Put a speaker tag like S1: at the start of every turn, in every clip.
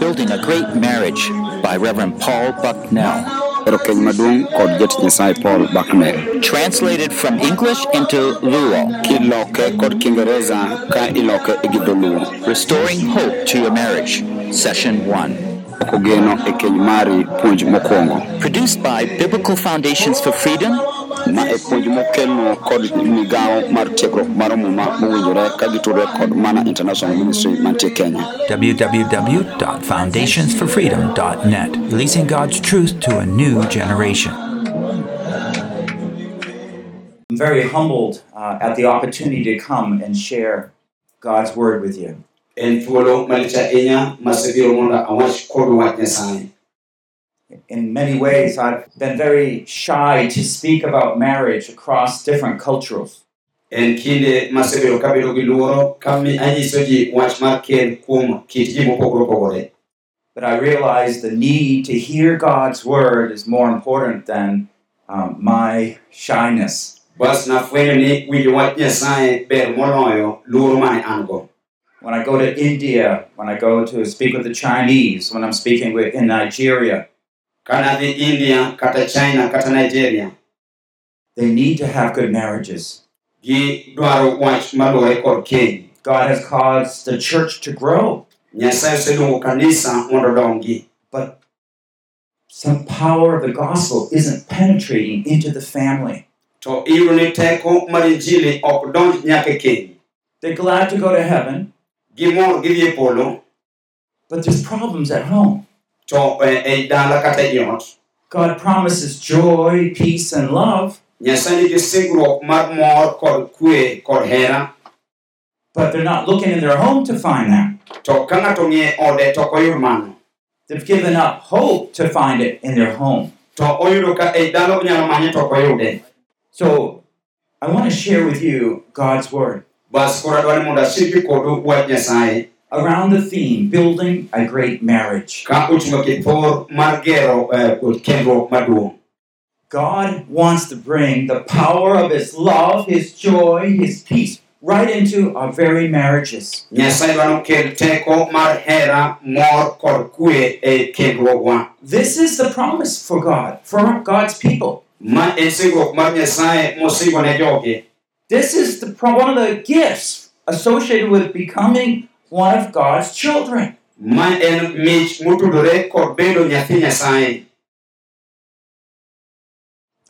S1: Building a Great Marriage by Reverend Paul Bucknell.
S2: Ero keny maduong' kod jatich Nyasaye Paul Bucknell.
S1: Translated from English into Luo.
S2: Iloke kod Kiingereza ka iloke e gi dholuo.
S1: Restoring Hope to Your Marriage, Session 1.
S2: Choko geno e keny mari puonj mokwongo.
S1: Produced by Biblical Foundations for Freedom
S2: Ma e puonj mokelno kod migawo mar tiegruok mar muma mowinjore ka gitudore kod Mana International Ministry mantie Kenya.
S3: www.foundationsforfreedom.net, releasing God's truth to a new generation.
S4: I'm very humbled uh, at the opportunity to come and share God's word with you.
S5: en thuolo malich ahinya masebiro mondo awach kodu wach nyasaye
S4: In many ways, I've been very shy to speak about marriage across different cultures.
S5: en kinde masebedo kabedo gi luoro ka mi- anyiso ji wach mar kend kuom kit ji mopogore opogore
S4: But I realize the need to hear God's word is more important than um, my shyness.
S5: bas nafwenyo ni winjo wach nyasaye ber moloyo luoro mane an go
S4: When I go to India, when I go to speak with the Chinese, when I'm speaking with, in Nigeria,
S5: ka nadhi india kata china kata nigeria
S4: they need to have good marriages.
S5: gidwaro wach maluwore kod keny
S4: God has caused the church to grow.
S5: nyasaye oseluongo kanisa mondo odongi
S4: but some power of the gospel isn't penetrating into the family.
S5: to iyudo ni teko mar injili ok donj nyaka e keny
S4: They're glad to go to heaven,
S5: gimor gidhi e polo
S4: but there's problems at home.
S5: to eh, ei dala kata ei ot
S4: God promises joy, peace, and love,
S5: Nyasaye nigi singruok mar mor kod kwe kod hera,
S4: but they're not looking in their home to find that.
S5: to ka ng'ato ng'iye ode to ok oyud mano.
S4: They've given up hope to find it in their home.
S5: To oyudo ka ei dala onyalo manye to ok oyude.
S4: So I want to share with you God's word
S5: Bas koro adwaro ni mondo asiki kodu wach Nyasaye
S4: around the theme building a great marriage.
S5: ka ochung' e kithor mar gero eh, kod kendruok maduong'.
S4: God wants to bring the power of His love, His joy, His peace right into our very marriages.
S5: Nyasaye dwaro ni okel teko mar hera, mor kod kwe ei kendruogwa.
S4: This is the promise for God, for God's people.
S5: Ma en singruok mar Nyasaye mosingo ne joge.
S4: This is the, pro- one of the gifts associated with becoming one of God's children.
S5: Ma en mich motudore kod bedo nyathi Nyasaye.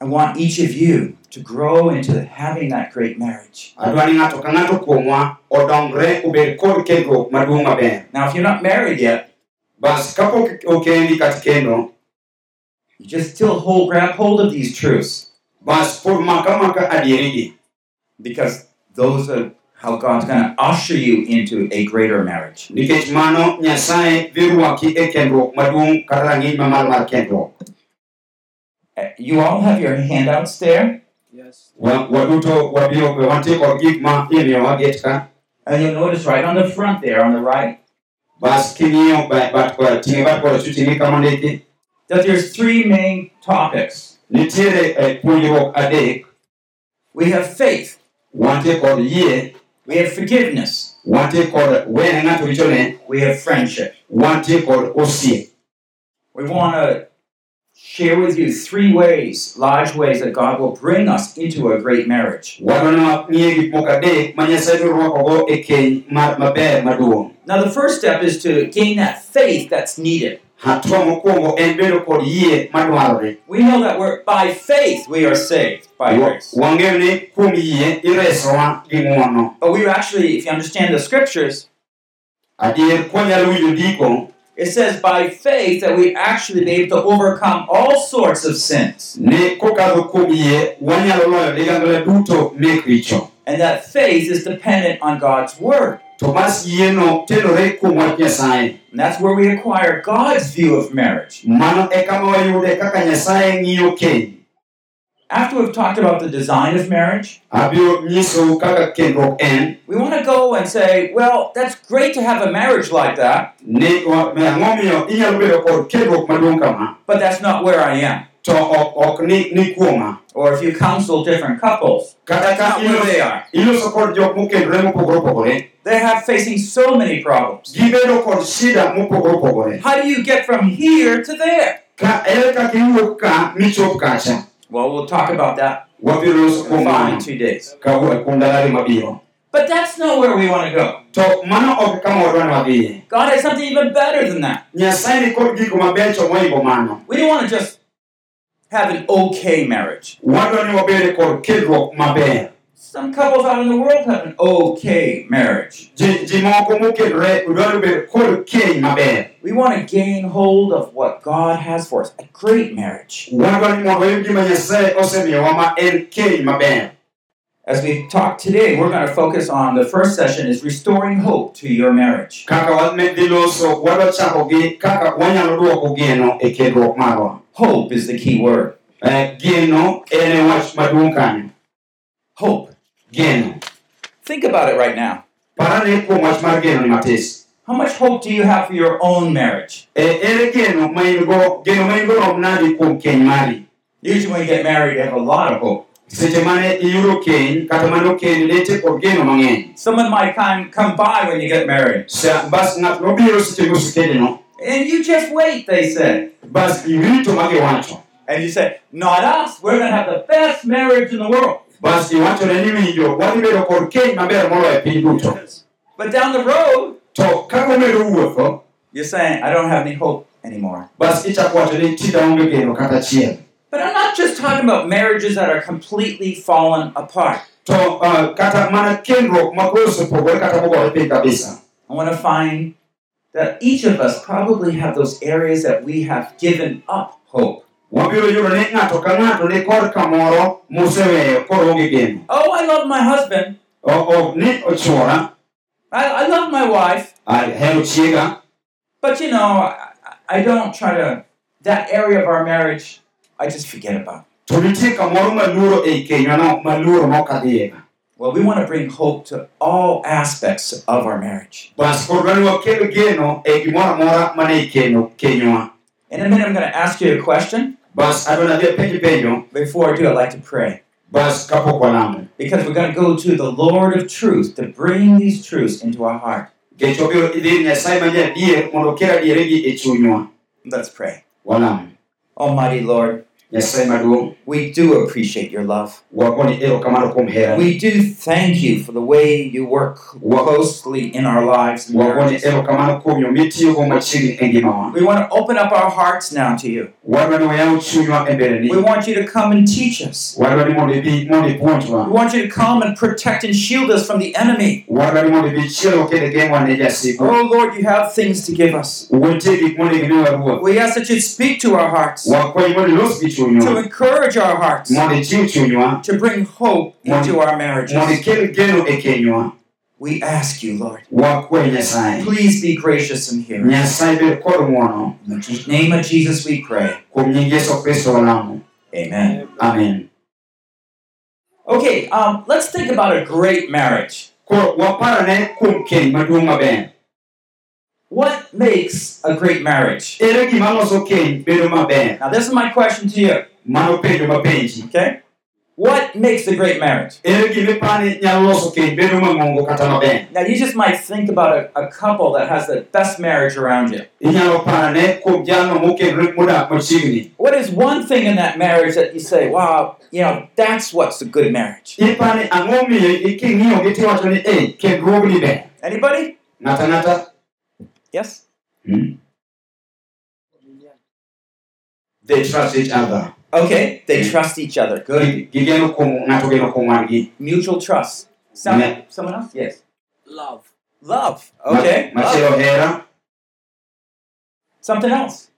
S4: I want each of you to grow into having that great marriage.
S5: adwa ni ng'ato ka ng'ato kuomwa odongre obed kod kendruok maduong' maber
S4: Now, if you're not married yet,
S5: bas kapok okendi kata kendo
S4: you just still hold, grab hold of these truths
S5: bas pod maka maka adierigi
S4: because those are how God's going to usher you into a greater marriage.
S5: nikech mano nyasaye dhi rwaki e kendruok maduong' kata rang'iny mamalo mar kendruok
S4: Uh, You all have your handouts there.
S5: Wa- waduto wabiro wantie kod gik ma imiyowa get ka
S4: And you'll notice right on the front there, on the right,
S5: bas king'iyo ba- bat korating'e bat korachwich kama ndiki
S4: that there's three main topics.
S5: nitiere eh, puonjruok adek
S4: We have faith,
S5: wantie kod yie
S4: we have forgiveness,
S5: wantie kod wene ng'ato richone
S4: we have friendship.
S5: wantie kod osiep
S4: We want to share with you three ways, large ways, that God will bring us into a great marriage.
S5: wadwa ng'iye gik moko adek ma nyasaye biro rwakogo e keny mar maber maduong'
S4: Now, the first step is to gain that faith that's needed.
S5: hatua mokwongo en bedo kod yie madwarore
S4: We know that we're by faith we are saved by grace.
S5: wang'eyo ni kuom yie iresowa gi ng'wono
S4: But we actually, if you understand the scriptures,
S5: adier kwanyalo winjo ndiko
S4: It says, by faith, that we actually be able to overcome all sorts of sins.
S5: ni kokadho kuom yie wanyalo loyo ligangla duto mek richo
S4: And that faith is dependent on God's Word.
S5: to bas yieno tenore kuom wach nyasaye
S4: And that's where we acquire God's view of marriage.
S5: mano e kama wayude kaka nyasaye ng'iyo keny
S4: After we've talked about the design of marriage,
S5: abiro nyisou kaka kendruok en
S4: we want to go and say, well, that's great to have a marriage like that,
S5: ni wa- ang'o miyo inyalo bedo kod kendruok maduong' kama
S4: but that's not where I am.
S5: to to ok, ok ni, ni kuoma
S4: Or if you counsel different couples,
S5: kata
S4: that's
S5: ka
S4: not where they
S5: ilos-
S4: are.
S5: iloso kod jok mokendore mopogore opogore
S4: They have facing so many problems.
S5: gibedo kod shida mopogore opogore
S4: How do you get from here to there?
S5: ka ere kaka iwuok ka michop kacha
S4: Well, we'll talk about that
S5: wabiro loso
S4: in the
S5: kuom
S4: following
S5: mano
S4: two days.
S5: kawu- kuom dalari mabiro
S4: But that's not where we want to go.
S5: to mano ok kama wadwa ni wadhiye
S4: God has something even better than that.
S5: nyasaye ni kod gik mabecho moingo mano
S4: We don't want to just have an okay marriage.
S5: wadwa ni wabede kod kendruok maber
S4: Some couples out in the world have an okay marriage.
S5: ji, ji moko mokendore dwaro bedo kod keny maber
S4: We want to gain hold of what God has for us a great marriage.
S5: wadwa ni mondo wayud gima nyasaye osemiyowa ma en keny maber
S4: As we talk today, we're going to focus on the first session is restoring hope to your marriage.
S5: kaka wadhi loso wadwa chako gi kaka wanyalo duoko geno e kendruok marwa
S4: Hope is the key word.
S5: Eh, geno en e wach maduong' kanyo
S4: Hope.
S5: geno
S4: Think about it right now.
S5: parane kuom wach mar geno ni matis
S4: How much hope do you have for your own marriage?
S5: e ere geno ma in go geno ma in go rom nadi kuom keny mari
S4: Usually, when you get married, you have a lot of hope.
S5: seche mane iyudo keny kata mane okeny lete kod geno mang'eny
S4: Someone might come, come by when you get married.
S5: Sa- bas ng'at nobiro seche mosekedeno
S4: And you just wait, they say.
S5: bas iwito magiwacho
S4: And you say, Not us. We're going to have the best marriage in the world.
S5: bas iwachone ni winjo wadhi bedo kod keny maber moloyo e piny duto
S4: But down the road,
S5: To kaka omedo wuotho,
S4: you're saying, I don't have any hope anymore.
S5: bas ichako wacho ni ti daonge geno kata achiel.
S4: But I'm not just talking about marriages that are completely fallen apart.
S5: To uh, kata mana kendruok ma koro osepogore e kata mogore piny kabisa.
S4: I want to find that each of us probably have those areas that we have given up hope.
S5: Wabiro yudo ni ng'ato ka ng'ato ni kor kamoro moseweyo koro onge geno.
S4: Oh, I love my husband.
S5: O- Ok ni ochwora,
S4: I, I love my wife,
S5: ahero chiega,
S4: but you know, I, I don't try to, that area of our marriage, I just forget about.
S5: to nitie kamoro maluoro ei kenywano maluoro mok adhiyega.
S4: Well, we want to bring hope to all aspects of our marriage.
S5: Bas koro dwani wakel geno e gimoro amora mane ikeno kenywa.
S4: In a minute, I'm going to ask you a question.
S5: Bas adwa nadhi apenji penjo,
S4: Before I do, I'd like to pray
S5: bas kapok walamo.
S4: because we're going to go to the Lord of truth to bring these truths into our heart.
S5: Kech obiro idhi ir Nyasaye ma jadier mondo okel adieregi e chunywa.
S4: Let's pray.
S5: Walamo.
S4: Almighty Lord,
S5: Nyasaye maduong',
S4: we do appreciate your love.
S5: wagoni erokamano kuom herani.
S4: We do thank you for the way you work closely in our lives. and
S5: Wagoni
S4: marriages.
S5: erokamano kuom yo mitiyogo machiegni e ngimawa.
S4: We want to open up our hearts now to you.
S5: Wadwani wayaw chunywa
S4: We
S5: e mbeleni.
S4: want you to come and teach us.
S5: Wadwani mondo ibi mondo
S4: We
S5: ipuonjwa.
S4: want you to come and protect and shield us from the enemy.
S5: Wadwani mondo ibi ichielwa kendo igeng'wa ne jasigu.
S4: Oh Lord, you have things to give us.
S5: Wentie gik monego imi waruoth.
S4: We ask that you speak to our hearts,
S5: Wakwayi mondo ilos gi
S4: to
S5: chunywa.
S4: encourage our hearts,
S5: Mondo ichiw chunywa.
S4: to bring hope into our
S5: Mondo
S4: marriages.
S5: ikel geno e kenywa.
S4: We ask you, Lord,
S5: Wakwayi Nyasaye.
S4: please be gracious and hear. us.
S5: Nyasaye bed kod ng'wono.
S4: In the name of Jesus, we pray.
S5: Kuom nying Yesu Kristo walamo.
S4: Amen.
S5: Amen.
S4: Okay, um, let's think about a great marriage.
S5: Koro waparane kuom keny maduong' maber.
S4: What makes a great marriage?
S5: Ere gima loso keny bedo maber?
S4: Now, this is my question to you,
S5: Mano penjo mapenji.
S4: okay? What makes a great marriage?
S5: Ere gima ipani nyalo loso keny bedo mang'ongo kata maber?
S4: Now, you just might think about a, a couple that has the best marriage around you.
S5: Inyalo parane kuom jalno mokenre modak machiegni.
S4: What is one thing in that marriage that you say, wow, you know, that's what's a good marriage?
S5: Ipani ang'o miyo i- king'iyogi tiwacho ni "Eh, kendruogni ber."
S4: Anybody?
S5: Ng'ato ang'ata
S4: Yes?
S5: they trust each other.
S4: Okay, they trust each other. Good.
S5: Gi- Gigeno kuom ng'ato geno kuom wadgi.
S4: Mutual trust. Sound
S5: Yeah.
S4: someone else? Yes.
S6: love,
S4: Love.
S5: Ma-
S4: Okay. Love.
S5: Machielo hera.
S4: Something else.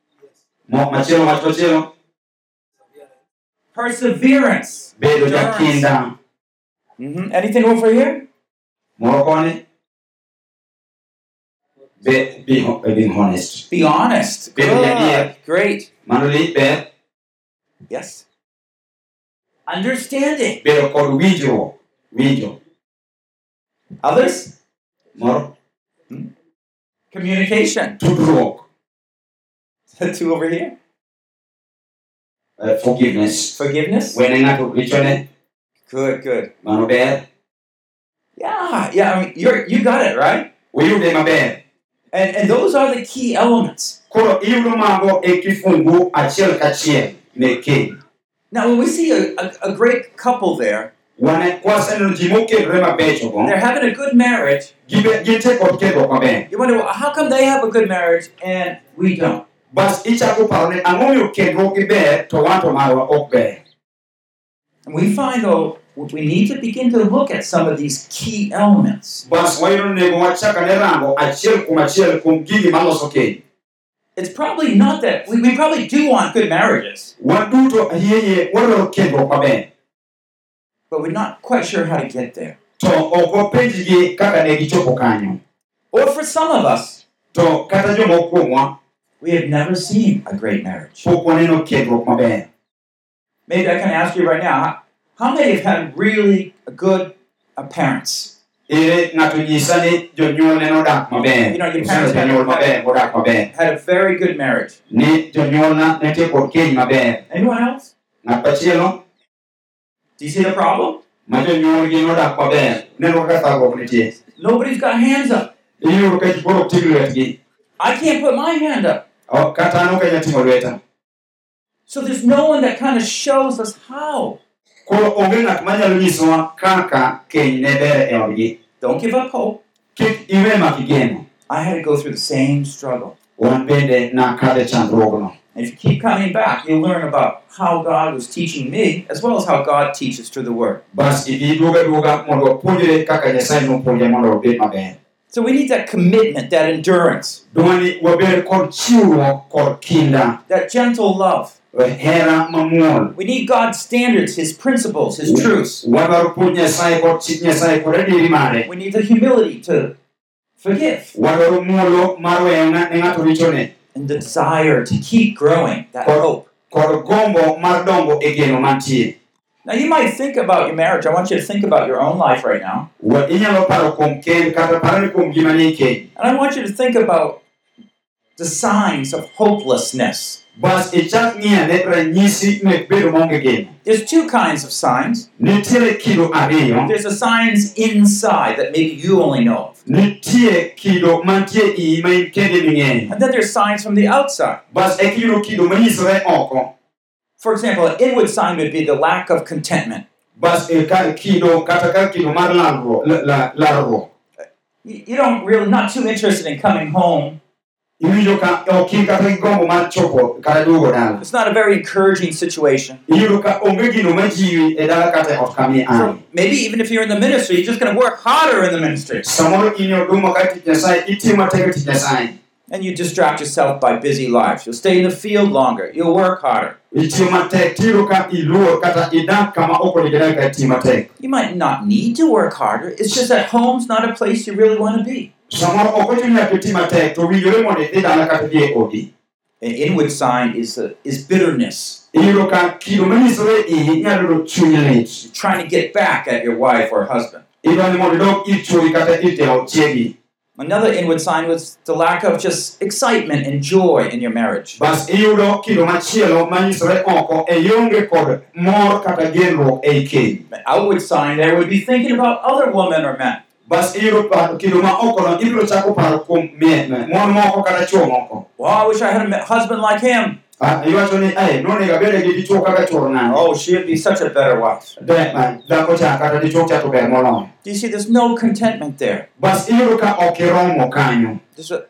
S5: Mo- Machielo wach machielo.
S4: Perseverance.
S5: Bedo
S4: Endurance.
S5: jakinda.
S4: hmm Anything over here?
S5: Moro koni. Be, be, ho- being honest.
S4: Be honest.
S5: Yeah,
S4: Good.
S5: yeah, yeah.
S4: Great.
S5: Mano lit ber
S4: Yes. Understanding.
S5: bedo kod winjruok winjo
S4: Others?
S5: moro
S4: Communication.
S5: tudruok
S4: Two over here.
S5: eh, forgiveness.
S4: Forgiveness?
S5: Wene ng'ato richone,
S4: Good, good.
S5: mano ber.
S4: Yeah, yeah, I mean, you're, you got it, right?
S5: Uyude maber.
S4: And, and those are the key elements.
S5: Koro iyudo mago e kifungu achiel kachiel meke.
S4: Now, when we see a, a, a great couple there,
S5: Wane kwaseneno ji mokelore mabechogo,
S4: they're having a good marriage.
S5: gibe- ginte kod kendruok maber.
S4: You wonder, well, how come they have a good marriage and we don't?
S5: Bas ichako paro ni ang'o momiyo kendruokgi ber to wan to marwa ok ber.
S4: And we find, though, we need to begin to look at some of these key elements.
S5: Bas wayudo ni nego wachak ane rango achiel kuom achiel kuom gigi maloso keny.
S4: It's probably not that, we, we probably do want good marriages,
S5: Wan duto ayeye wadwaro kendruok maber,
S4: but we're not quite sure how to get there.
S5: to ok wapenjgi kaka ne gichopo kanyo.
S4: Or for some of us,
S5: To kata jomoko kuomwa
S4: we have never seen a great marriage.
S5: pok waneno kendruok maber.
S4: Maybe I can ask you right now, how- how many have had really good uh, parents?
S5: Ere ng'ato nyisa ni jonyuolne nodak maber,
S4: You know, your
S5: Osebedo
S4: parents had-
S5: jonyuol maber modak maber.
S4: Had a very good marriage.
S5: Ni jonyuolna netie kod keny maber.
S4: Anyone else?
S5: Ng'at machielo
S4: Do you see the problem?
S5: ma jonyuolgi nodak maber, neno kaka thagruok nitie.
S4: Nobody's got hands up.
S5: Iyudo ka ji koro ok ting' lwetgi,
S4: I can't put my hand up.
S5: ok kata an ok anyal ting'o lweta.
S4: So there's no one that kind of shows us how.
S5: Koro onge ng'at manyalo nyisowa kaka keny ne ber e odgi.
S4: Don't give up hope.
S5: Kik iwe mak igeno.
S4: I had to go through the same struggle.
S5: Wan bende nakadhe chandruogno.
S4: And if you keep coming back, you'll learn about how God was teaching me, as well as how God teaches through the Word.
S5: Bas ibi duoga duoga mondo wapuonjre kaka Nyasaye nopuonja mondo wabed maber.
S4: So we need that commitment, that endurance,
S5: Dwani wabed kod chiwruok kod kinda, e
S4: that gentle love.
S5: hera mamuol.
S4: We need God's standards, His principles, His truths.
S5: Wadwaro puonj Nyasaye kod chik Nyasaye kod adieri mare.
S4: We need the humility to forgive
S5: Wadwaro muolo mar weyo ng'a- ne ng'ato richone
S4: and the desire to keep growing that
S5: Or-
S4: hope.
S5: kod gombo mar dongo e geno mantie.
S4: Now, you might think about your marriage. I want you to think about your own life right now.
S5: Wa- Inyalo paro kuom kend kata paro ni kuom gima ne ikeny.
S4: And I want you to think about the signs of hopelessness.
S5: Bas ichak ng'iyo ne ranyisi mek bedo maonge geno.
S4: There's two kinds of signs.
S5: Nitiere kido ariyo.
S4: There's the signs inside that maybe you only know of.
S5: Nitie kido mantie iyi ma in kende ming'eyo.
S4: And then there's signs from the outside.
S5: Bas eka iyudo kido manyisore oko.
S4: For example, an inward sign would be the lack of contentment.
S5: Bas e kar kido kata kar kido mar larruok. la- la- larruok.
S4: You you don't really, not too interested in coming home
S5: Iwinjo ka ok in kata gi gombo mar chopo kata duogo dala.
S4: It's not a very encouraging situation.
S5: Iyudo ka onge gino majiwi e dala kata e ot kama
S4: So
S5: iaye.
S4: maybe even if you're in the ministry, you're just going to work harder in the ministry.
S5: Samoro in e oduma kar tich Nyasaye, itimo matek e tich Nyasaye.
S4: And you distract yourself by busy lives. You'll stay in the field longer. You'll work harder.
S5: Itiyo matek, tiyudo ka iluor kata idak kama ok onego idag ka itiyo matek.
S4: You might not need to work harder. It's just that home's not a place you really want to be.
S5: Samoro ok ochuno nyaka iti matek, to winjore mondo idhi dala kata idhi e odi.
S4: An inward sign is, uh, is bitterness.
S5: Iyudo ka kido manyisore e iyi inyalo yudo chuny lit.
S4: You're trying to get back at your wife or husband.
S5: Idwani mondo idog ir chuori kata ir jaod chiegi.
S4: Another inward sign was the lack of just excitement and joy in your marriage.
S5: Bas iyudo kido machielo manyisore oko e ionge kod mor kata genruok ei keny.
S4: An outward sign there would be thinking about other women or men.
S5: Bas iyudo paro kido ma okono ibiro chako paro kuom mien- mon moko kata chwo moko.
S4: Well, I wish I had a ma- husband like him.
S5: Ah, Iwacho ni, "Ai, nonego abede gi dichwo kaka chwor ng'ani."
S4: Oh, she'd be such a better wife.
S5: De- ma- Dhako cha kata dichwo cha to ber moloyo.
S4: Do you see? There's no contentment there.
S5: Bas iyudo ka ok iromo kanyo.
S4: There's an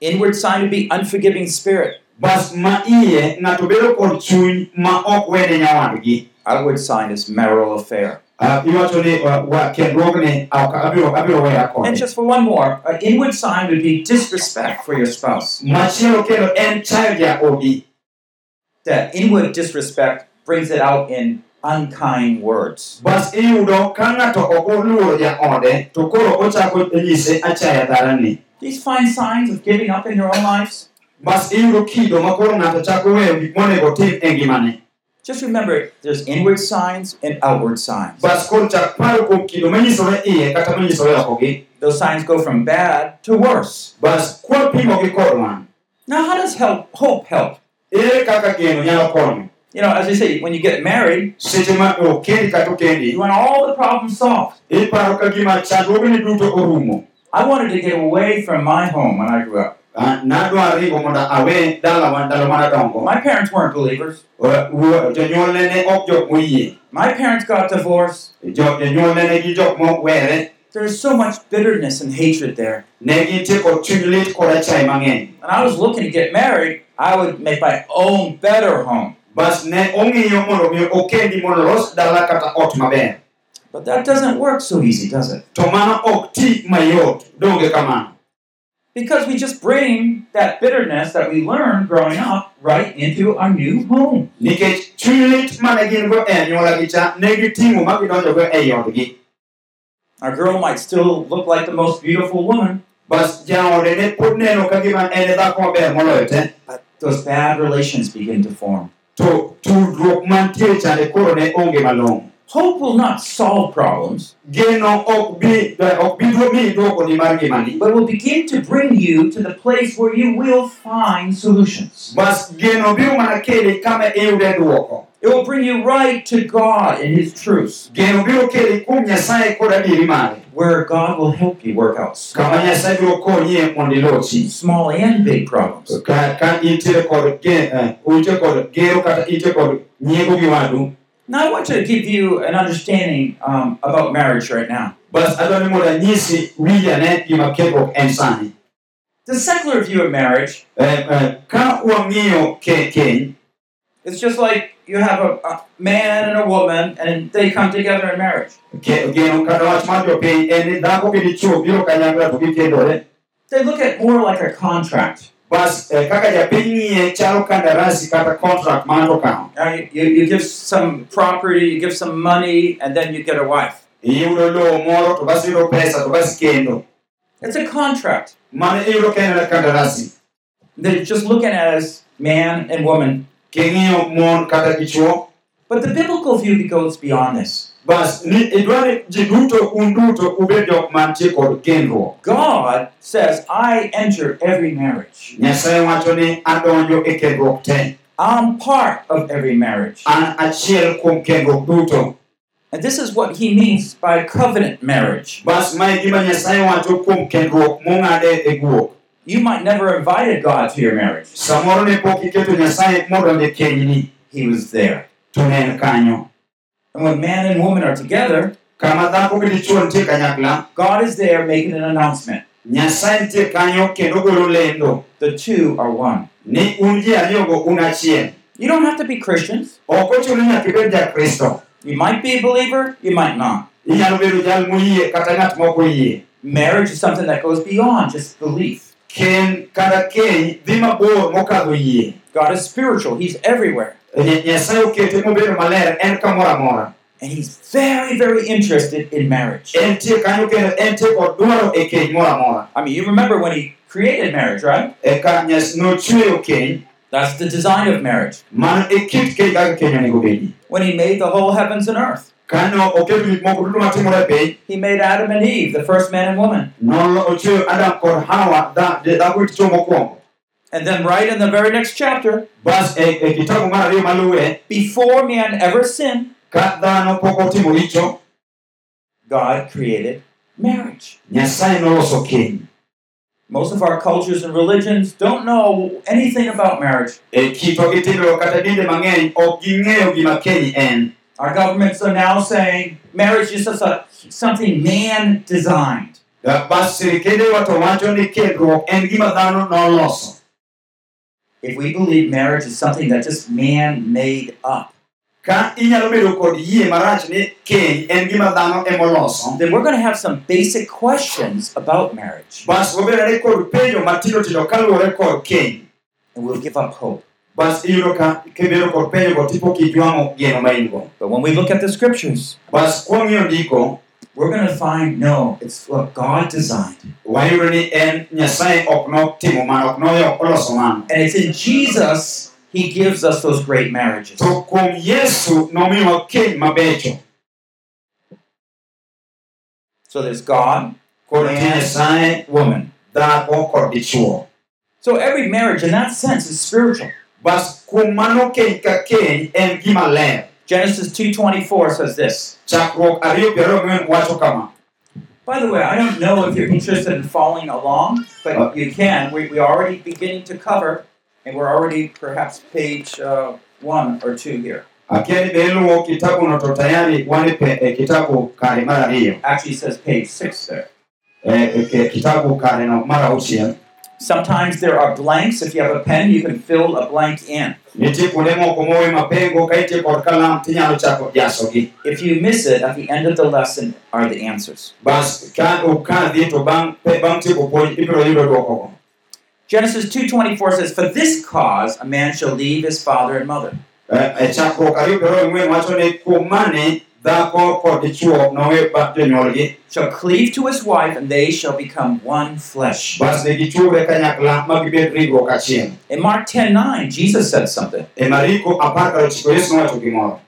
S4: inward sign to be unforgiving spirit.
S5: Bas ma iye ng'ato bedo kod chuny ma ok wene nyawadgi.
S4: Outward sign is marital affair.
S5: Uh, iwacho ni uh, wa, kendruogni ok, abiro, abiro weya
S4: And
S5: kode.
S4: just for one more, an inward sign would be disrespect for your spouse.
S5: Machielo kendo en chayo jaodi.
S4: That inward disrespect brings it out in unkind words.
S5: Bas iyudo ka ng'ato ok oluoro jaode to koro ochako nyise achaya dharani.
S4: These fine signs of giving up in your own lives.
S5: Bas iyudo kido ma koro ng'ato chako weyo gik monego tim e ngimane.
S4: Just remember, there's inward signs and outward signs.
S5: Bas koro chak paro kuom kido manyisore iye kata manyisore okogi.
S4: Those signs go from bad to worse.
S5: Bas kwapimogi kod wan.
S4: Now, how does help, hope help?
S5: Ere kaka geno nyalo konyo.
S4: You know, as I say, when you get married,
S5: seche ma okend kata
S4: you
S5: okendi
S4: want all the problems solved.
S5: iparo ka gima chandruogni duto orumo
S4: I wanted to get away from my home when I grew up.
S5: Ah, nadwa ringo mondo awe dalawa ndalo manadongo
S4: My parents weren't believers.
S5: Wa- wuo- jonyuolne ne ok jok moyie
S4: My parents got divorced.
S5: Jo- jonyuolne ne gin jok mowere
S4: There's so much bitterness and hatred there.
S5: ne gintie kod chuny lit kod achai mang'eny
S4: When I was looking to get married, I would make my own better home.
S5: bas ne ong'iyo mondo mi okendi mondo los dala kata ot maber
S4: But that doesn't work so easy, does it?
S5: to mano ok ti mayot donge kamano
S4: Because we just bring that bitterness that we learned growing up right into our new home.
S5: nikech chuny lit mane gin go e anyuolagi cha ne giting'o ma gidonjogo ei odgi
S4: Our girl might still look like the most beautiful woman,
S5: bas jaode ne pod neno ka gima en e dhako maber moloyo te
S4: but those bad relations begin to form.
S5: to tudruok mantie chande koro ne onge malong'o
S4: Hope will not solve problems,
S5: geno ok bi eh, ok bi dwo miyi dwokoni mar ngimani
S4: but will begin to bring you to the place where you will find solutions.
S5: bas geno biro mana kele kama e iyude dwoko
S4: It will bring you right to God and His truths,
S5: geno biro kele kuom nyasaye kod adieri mare
S4: where God will help you work out s-
S5: kama nyasaye biro konyi mondo ilochi
S4: small and big problems.
S5: ka, ka intiere kod ge- eh, ute kod gero kata intiere kod nyiego gi wadu
S4: Now, I want to give you an understanding um, about marriage right now.
S5: bas adwa ni mondo anyisi wija ne gima kethruok en sani
S4: The secular view of marriage
S5: Eh, eh, ka wang'iyo ke- keny
S4: is just like you have a, a man and a woman, and they come together in marriage.
S5: ke- geno kata wach mar jopiny en ni dhako gi dichuo biro kanyakla to gikendore
S4: They look at more like a contract.
S5: bas eh, kaka japiny ng'iye chalo kandarasi kata contract ma ng'ato okawo
S4: Now, you, you, you give some property, you give some money, and then you get a wife.
S5: iyudo lowo moro to bas iyudo pesa to bas kendo
S4: It's a contract.
S5: mano iyudo ka en mana kandarasi
S4: They're just looking at us, man and woman.
S5: king'iyo mon kata dichuo
S4: But the biblical view goes beyond this.
S5: bas ni idware ji duto un duto ubed jok mantie kod kendruok
S4: God says, I enter every marriage.
S5: nyasaye wacho ni adonjo e kendruok te
S4: I'm part of every marriage.
S5: an achiel kuom kendruok duto
S4: And this is what he means by covenant marriage.
S5: bas mae e gima nyasaye wacho kuom kendruok mong'ade e guok
S4: You might never invited God to your marriage.
S5: samoro ne pok iketo nyasaye modonjo e kenyni
S4: He was there.
S5: to ne en kanyo
S4: And when man and woman are together,
S5: kama dhako gi dichuo nitie kanyakla
S4: God is there making an announcement.
S5: nyasaye nitie kanyo kendo golo lendo
S4: The two are one.
S5: ni un ji ariyogo un achiel
S4: You don't have to be Christians.
S5: ok ochuno ni nyaka ibed jakristo
S4: You might be a believer, you might not.
S5: inyalo bedo jal moyie kata ng'at mok oyie
S4: Marriage is something that goes beyond just belief.
S5: ken kata keny dhi mabor mokadho yie
S4: God is spiritual, He's everywhere.
S5: Ny- nyasaye okete mobedo maler en kamoro amora
S4: And He's very, very interested in marriage.
S5: entie kanyo kendo entie kod dwaro e keny moro amora
S4: I mean, you remember when He created marriage, right?
S5: eka nochweyo keny
S4: That's the design of marriage.
S5: mano e kit keny kaka keny onego bedi
S4: When He made the whole heavens and earth,
S5: kano oketo gik moko duto matimore e piny
S4: He made Adam and Eve, the first man and woman.
S5: nolo ochweyo adam kod hawa dha- dhako gi dichuo mokwongo
S4: And then, right in the very next chapter,
S5: bas e, e kitabu mar ariyo maluwe
S4: before man ever sinned,
S5: ka dhano pok otimo richo
S4: God created marriage.
S5: nyasaye noloso keny
S4: Most of our cultures and religions don't know anything about marriage.
S5: e kitwa gi timbewa kata dinde mang'eny ok ging'eyo gima keny en
S4: Our governments are now saying marriage is just a, something man designed.
S5: Eh, bas sirikedewa to wacho ni kendruok en gima dhano noloso
S4: If we believe marriage is something that just man made up,
S5: ka inyalo bedo kod yie marach ni keny en gima dhano emoloso
S4: then we're going to have some basic questions about marriage
S5: bas wabedore kod penjo matindo tindo kaluwore kod keny
S4: and we'll give up hope.
S5: bas iyudo ka kibedo kod penjogo tipo kijwang'o geno ma in-go
S4: But when we look at the scriptures,
S5: bas kwang'iyo ndiko
S4: we're going to find no, it's what God designed.
S5: wayudo ni en nyasaye ok notimo mano ok noyo oloso mano
S4: And it's in Jesus, He gives us those great marriages.
S5: to kuom yesu nomiyowa keny mabecho
S4: So there's God,
S5: kod e nyasaye
S4: woman.
S5: dhako kod dichuo
S4: So every marriage in that sense is spiritual.
S5: Bas kuom mano keny ka keny en gima ler.
S4: Genesis 2:24 says this.
S5: Chakruok ariyo piero ang'wen wacho kama.
S4: By the way, I don't know if you're interested in following along, but
S5: Uh.
S4: you can. We we already beginning to cover, and we're already perhaps page uh, one or two here.
S5: Akia ni be iluwo kitabuno to tayari wan e pe- e kitabu kare mar ariyo.
S4: Actually, it says page six there.
S5: E, e, e kitabu kare no mar auchiel.
S4: Sometimes there are blanks. If you have a pen, you can fill a blank in.
S5: Nitie kuonde moko mowe mapengo ka itie kod kalam tinyalo chako jasogi.
S4: If you miss it, at the end of the lesson are the answers.
S5: Bas ka okadhi to bang' pe- bang' tieko puonj ibiro yudo duokogo.
S4: Genesis 2:24 says, "For this cause a man shall leave his father and mother."
S5: Eh, e chakruok ariyo piero ariyo ang'wen wacho ni kuom mane dhako kod dichwo nowe bat jonyuolgi
S4: shall cleave to his wife, and they shall become one flesh.
S5: bas ne gichwore kanyakla ma gibed rigruok achiel
S4: In Mark 10 9, Jesus said something.
S5: e mariko apar kar ochiko yesu nowacho gimoro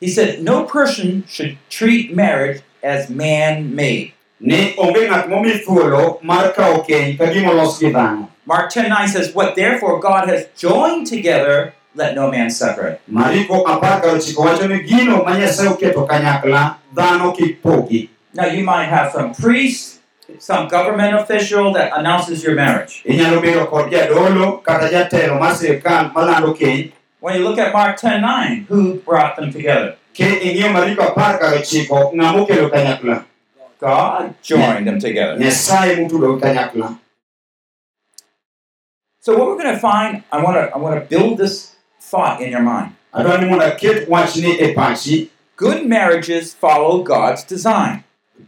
S4: He said, No person should treat marriage as man made.
S5: ni onge ng'at momi thuolo mar kawo keny ka gima olos gi dhano
S4: Mark 10 9 says, What therefore God has joined together, let no man separate.
S5: mariko apar kar ochiko wacho ni gino ma nyasaye oketo kanyakla dhano kik pogi
S4: Now, you might have some priest, some government official that announces your marriage.
S5: inyalo E, bedo kod jadolo kata jatelo mar sirikal malando keny
S4: When you look at Mark 10 9, who brought them together?
S5: ke ing'iyo mariko apar kar ochiko ng'ama okelo kanyakla
S4: God joined them together.
S5: nyasaye motudo gi kanyakla
S4: So, what we're going to find, I want to I want to build this thought in your mind.
S5: adwa ni mondo aket wachni e pachi
S4: Good marriages follow God's design.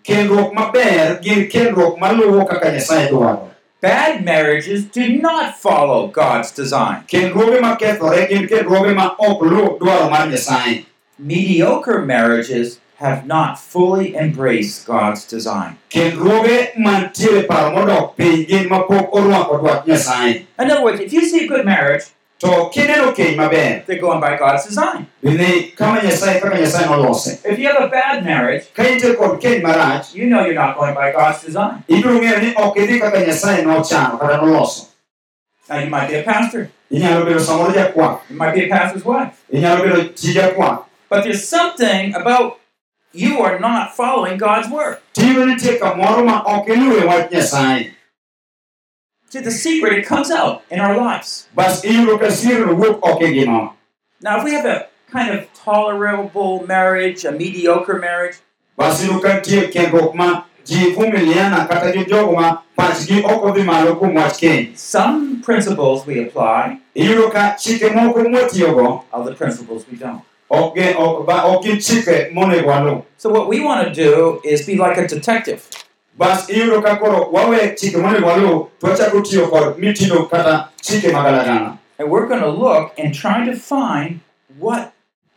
S5: kendruok maber gin kendruok maluwo kaka e nyasaye dwaro
S4: Bad marriages do not follow God's design.
S5: kendruoge makethore gin kendruoge ma ok luw dwaro mar e. nyasaye
S4: Mediocre marriages have not fully embraced God's design.
S5: kendruoge mantiere paro modok piny gin mapok orwako dwach nyasaye
S4: In other words, if you see a good marriage,
S5: to kineno keny maber
S4: they're going by God's design.
S5: ni kama nyasaye kaka nyasaye nolose
S4: If you have a bad marriage,
S5: ka intie kod keny marach
S4: you know you're not going by God's design.
S5: ibiro ng'eyo ni ok idhi kaka nyasaye nochano kata noloso
S4: Now, you might be a pastor,
S5: inyalo bedo samoro jakwath
S4: you might be a pastor's wife,
S5: inyalo bedo chi jakwath
S4: but there's something about you are not following God's word.
S5: tiyudo nitie kamoro ma ok iluwe wach nyasaye
S4: See, the secret, it comes out in our lives.
S5: Bas iyudo ka sirno wuok oko e gino.
S4: Now, if we have a kind of tolerable marriage, a mediocre marriage,
S5: Bas iyudo ka nitie kendruok ma ji vumiliana kata gi jogo ma pachgi ok odhi malo kuom wach keny.
S4: some principles we apply,
S5: Iyudo ka chike moko mwatiyogo
S4: other principles we don't.
S5: ok gin- ok ba- ok gin chike monego waluw.
S4: So, what we want to do is be like a detective.
S5: Bas iyudo ka koro wawe chike monego waluw to wachako tiyo kod mitindo kata chike magalagala.
S4: And we're going to look and try to find what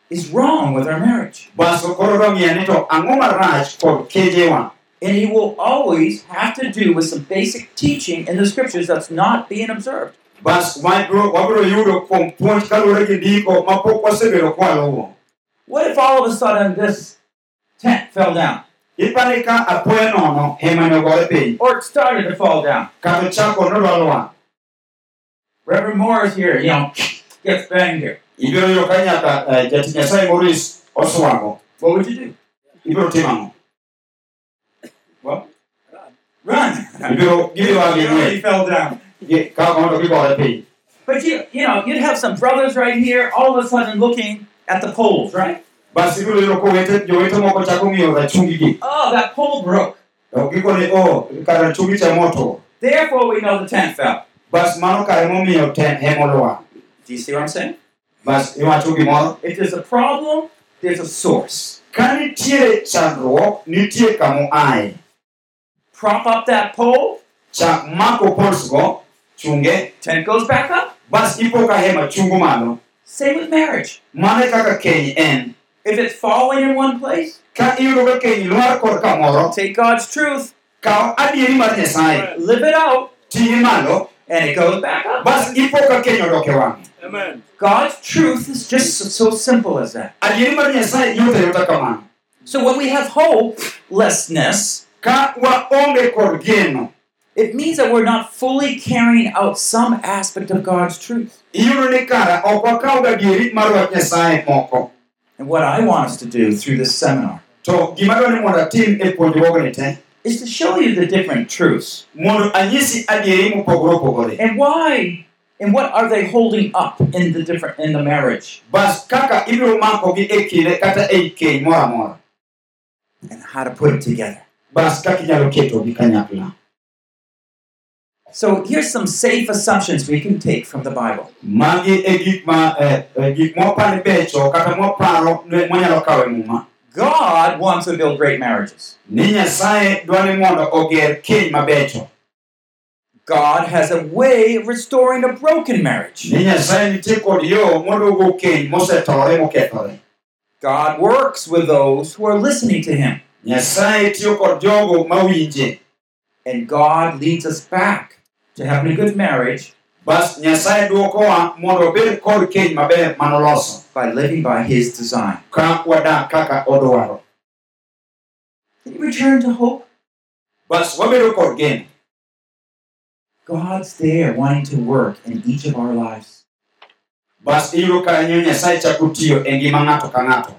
S4: is wrong with our marriage.
S5: Bas koro wang'iyo ni to ang'o marach kod kenjewa.
S4: And it will always have to do with some basic teaching in the scriptures that's not being observed.
S5: Bas wabro- wabiro yudo kuom puonj kaluwore gi ndiko mapok wasebedo kwaluwo.
S4: What if all of a sudden this tent fell down,
S5: Ipani ka apoya nono hema ne ogore piny
S4: or it started to fall down?
S5: kata chako nolwar lwar.
S4: Reverend Morris here, you know, gets banged here.
S5: Ibiro yudo ka nyaka eh, jatich Nyasaye Morris oswago.
S4: What would you do?
S5: Ibiro timo ang'o?
S4: Run!
S5: Ibiro gibiro wang'
S4: You already
S5: ing'wech
S4: fell down.
S5: gi- ka mondo gigore piny.
S4: But you, you know, you'd have some brothers right here, all of a sudden looking at the poles, right?
S5: Bas ibiro yudo kowete jowete moko chako ng'iyo rachungigi.
S4: Oh, that pole broke.
S5: To giko ni o kar rachungi cha moto.
S4: Therefore, we know the tent fell.
S5: Bas mano kare momiyo ten hema olwar.
S4: Do you see what I'm saying?
S5: Bas iwacho gimoro.
S4: If there's a problem, there's a source.
S5: Ka nitiere chandruok nitie kamo aye.
S4: Prop up that pole,
S5: Chak mako pols go chunge.
S4: tent goes back up.
S5: Bas ipo ka hema chungo malo.
S4: Same with marriage.
S5: Mano e kaka keny en.
S4: If it's falling in one place,
S5: Ka iyudo ka keny lwar kor kamoro,
S4: take God's truth,
S5: kaw adieri mar Nyasaye,
S4: live it out,
S5: ting'e malo, e
S4: and it goes back up.
S5: bas ipo ka keny odok e wang'e.
S4: God's truth is just so, so simple as that.
S5: Adieri mar Nyasaye yot ayota kamano.
S4: So when we have hopelessness,
S5: Ka waonge kod geno,
S4: It means that we're not fully carrying out some aspect of God's truth.
S5: iyudo ni kara ok wakawga dieri mar wach nyasaye moko
S4: And what I want us to do through this seminar
S5: to gima dwa ni mondo atim e puonjruogni te
S4: is to show you the different truths
S5: mondo anyisi adieri mopogore opogore
S4: and why and what are they holding up in the different in the marriage
S5: bas kaka ibiro makogi e kinde kata ei keny moro amora
S4: and how to put it together.
S5: bas kaka inyalo ketogi kanyakla
S4: So here's some safe assumptions we can take from the Bible.
S5: magi e gik ma eh, eh, gik mopani becho kata moparo ne- mwanyalo kawe muma
S4: God wants to build great marriages.
S5: ni nyasaye dwa ni mondo oger keny mabecho
S4: God has a way of restoring a broken marriage.
S5: ni nyasaye nitie kod yo moduogo keny mosetore mokethore
S4: God works with those who are listening to Him,
S5: nyasaye tiyo kod jogo mawinje
S4: and God leads us back to having a good marriage
S5: bas nyasaye dwokowa mondo obed kod keny maber manoloso
S4: by living by His design.
S5: ka wadak kaka odwaro
S4: Can you return to hope?
S5: bas wabedo kod geno
S4: God's there wanting to work in each of our lives.
S5: bas iyudo kanyo nyasaye chako tiyo e ngima ng'ato ka ng'ato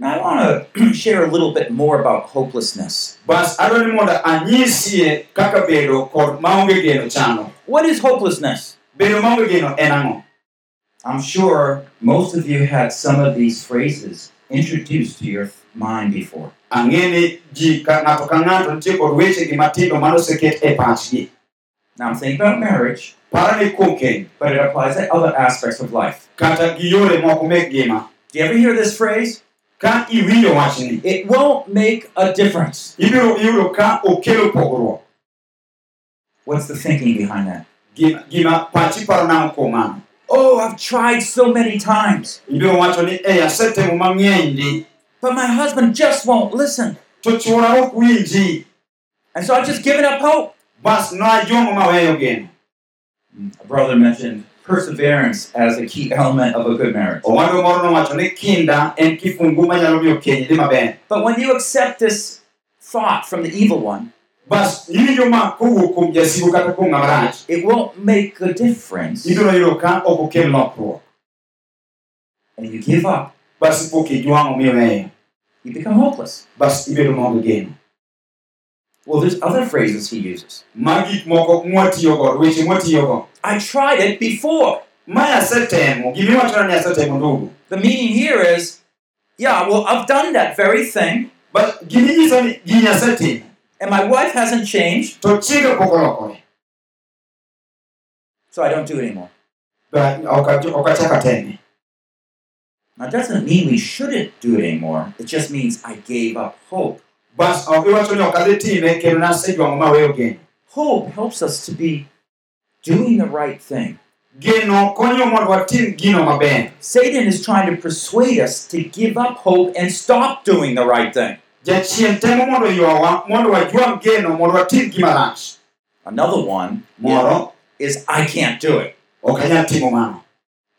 S4: Now, I want to share a little bit more about hopelessness.
S5: bas adwa ni mondo anyisie kaka bedo kod maonge geno chano
S4: What is hopelessness?
S5: bedo maonge geno en ang'o
S4: I'm sure most of you had some of these phrases introduced to your mind before.
S5: ang'e ni ji ka ng'ato ka ng'ato nitie kod wechegi matindo manoseket e pachgi
S4: Now I'm thinking about marriage,
S5: para ni kuom keny
S4: but it applies to other aspects of life.
S5: kata gi yore moko mek ngima
S4: Do you ever hear this phrase?
S5: ka iwinjo wachni
S4: It won't make a difference.
S5: ibiro yudo ka okelo pogruok
S4: What's the thinking behind that?
S5: Gi- gima pachi paro nang'o kuom mano
S4: Oh, I've tried so many times,
S5: ibiro wacho ni ei asetemo mang'eny di
S4: but my husband just won't listen.
S5: to chuora ok winji
S4: And so I've just given up hope.
S5: bas najomo maweyo geno
S4: A brother mentioned perseverance as a key element of a good marriage.
S5: owadwa moro nowacho ni kinda en kifungu manyalo miyo keny dhi maber
S4: But when you accept this thought from the evil one,
S5: bas iwinjo ma kowuok kuom jasigu kata kuom ng'ama rach
S4: it won't make a difference.
S5: ibiro yudo ka ok okel lokruok
S4: and you give up,
S5: bas ipok ijwang'o miweyo
S4: you become hopeless.
S5: bas ibedo maonge geno
S4: Well, there's other phrases he uses.
S5: ma gik moko mwatiyogo weche mwatiyogo
S4: I tried it before.
S5: mae asetemo gimiwachona ni asetemo ndugu
S4: The meaning here is, yeah, well, I've done that very thing,
S5: bas gini nyiso ni gini asetimo
S4: and my wife hasn't changed,
S5: to chiega pok olokore
S4: so I don't do it anymore.
S5: Ba- ok ach- ok achak ateme
S4: Now, it doesn't mean we shouldn't do it anymore. It just means I gave up hope.
S5: bas ok iwacho ni ok adhi time kendo nasejwang'o maweyo geno
S4: Hope helps us to be doing the right thing.
S5: geno konyo mondo watim gino maber
S4: Satan is trying to persuade us to give up hope and stop doing the right thing.
S5: jachien temo mondo ywawa mondo wajwam geno mondo watim gima rach
S4: Another one
S5: moro
S4: is I can't do it.
S5: ok anyal timo mano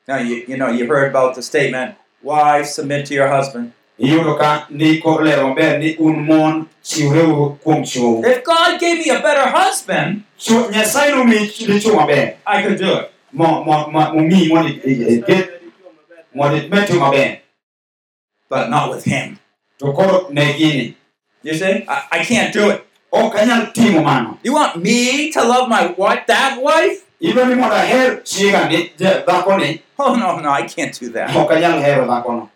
S4: Now, you, you know, you heard about the statement, wives submit to your husband.
S5: iyudo ka ndiko lero maber ni un mon chiwreuru kuom chou
S4: If God gave me a better husband,
S5: Chwo- nyasaye nomiyi ch- dichwo maber
S4: I could do it.
S5: mo- mo- mo- momiyi mondo i- i- iket- mondo itime tim maber
S4: But not with him.
S5: to koro ne gini
S4: You see? I, I can't do it.
S5: ok anyal timo mano
S4: You want me to love my wife, that wife?
S5: idwa ni mondo aher chiega ni ja- dhakoni
S4: Oh, no, no, I can't do that.
S5: ok anyal hero dhakono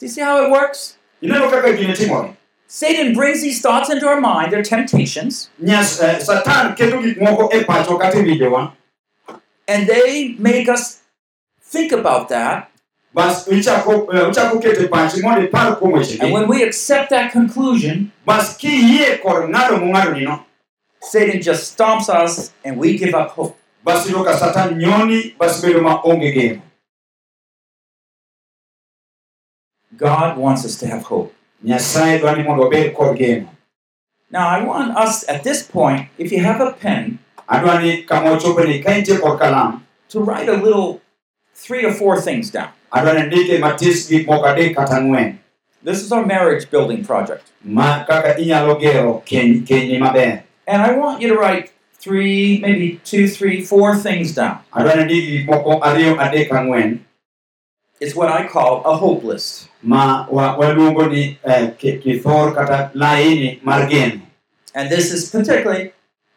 S4: Do you see how it works?
S5: ineno kaka gini timore
S4: Satan brings these thoughts into our mind, their temptations,
S5: Nyas, eh, satan keto gik moko e pachwa kata e winjowa
S4: and they make us think about that.
S5: bas ichako eh, uchako keto e pachi mondo ipar kuom
S4: And
S5: wechegi
S4: when we accept that conclusion,
S5: bas kiyie kod ng'ado mong'adonino
S4: Satan just stomps us and we give up hope.
S5: bas yudo ka satan nyoni bas bedo maonge geno
S4: God wants us to have hope.
S5: nyasaye dwa ni mondo wabed kod geno
S4: Now, I want us at this point, if you have a pen,
S5: adwa ni kama ochopeni ka intie kod kalam
S4: to write a little three or four things down.
S5: adwa ni ndike matis gik moko adek kata ang'wen
S4: This is our marriage building project.
S5: ma kaka inyalo gero keny kenyi maber
S4: And I want you to write three, maybe two, three, four things down.
S5: adwa ni ndik gik moko ariyo adek ang'wen
S4: It's what I call a hope list.
S5: ma wa- waluongo ni eh, ki- kithor kata laini mar geno
S4: And this is particularly,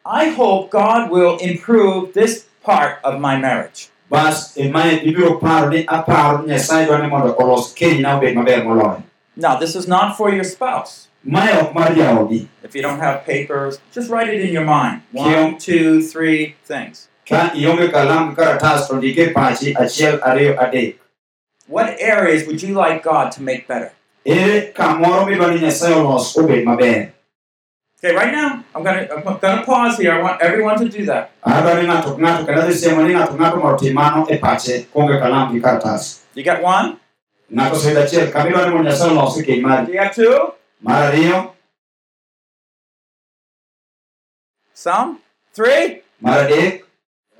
S4: I hope God will improve this part of my marriage.
S5: bas mae ibiro paro ni aparo nyasaye dwa ni mondo olos kenyna obed maber moloyo
S4: Now, this is not for your spouse.
S5: mae ok mar jaodi
S4: If you don't have papers, just write it in your mind. One, two, three things.
S5: ka ionge kalam gi karatas to ndike e pachi achiel ariyo adek
S4: What areas would you like God to make better?
S5: ere kamoro midwa ni nyasaye olos obed maber
S4: Okay, right now, I'm gonna I'm gonna pause here. I want everyone to do that.
S5: adwa ni ng'ato ka ng'ato kendo adhi siemo ni ng'ato ka ng'ato mondo otim mano e pache kuonge kalam gi karatas
S4: You got one?
S5: ng'ato oseyudo achiel kama idwa ni mondo nyasaye olos e keny mari
S4: You got two?
S5: mar ariyo
S4: Some? Three?
S5: mar adek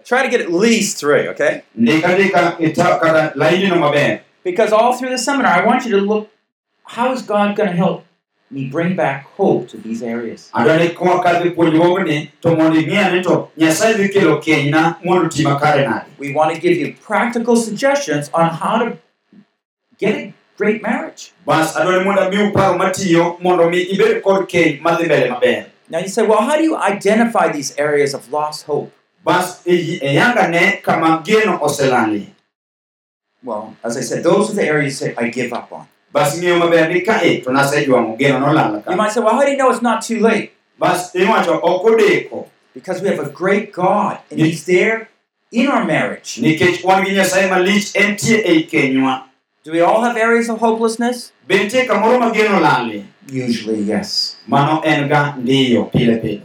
S4: Try to get at least three, okay?
S5: ndik andika ita kata lainino maber
S4: Because all through the seminar, I want you to look how is God gonna help me bring back hope to these areas?
S5: adwa ni kwa kadhi puonjruogni to mondo ing'e ni to nyasaye dhi kelo kenyna mondo ti makare nade
S4: We want to give you practical suggestions on how to get a great marriage.
S5: bas adwa ni mondo amiu paro matiyo mondo mi ibed kod keny madhi mbele maber
S4: Now you say, well, how do you identify these areas of lost hope?
S5: bas iyi- eyangane kama geno oselali
S4: Well, as I said, those are the areas that I give up on.
S5: bas ng'eyo maber ni kae to nasejwang'o geno nolala
S4: You
S5: ka
S4: might say, well, how do you know it's not too late?
S5: bas iwacho ok odeko
S4: Because we have a great God and He's there in our marriage.
S5: nikech wan gi nyasaye malich entie ei kenywa
S4: Do we all have areas of hopelessness?
S5: be nitie kamoro ma geno lali
S4: Usually, yes.
S5: mano en ga ndiyo pile pile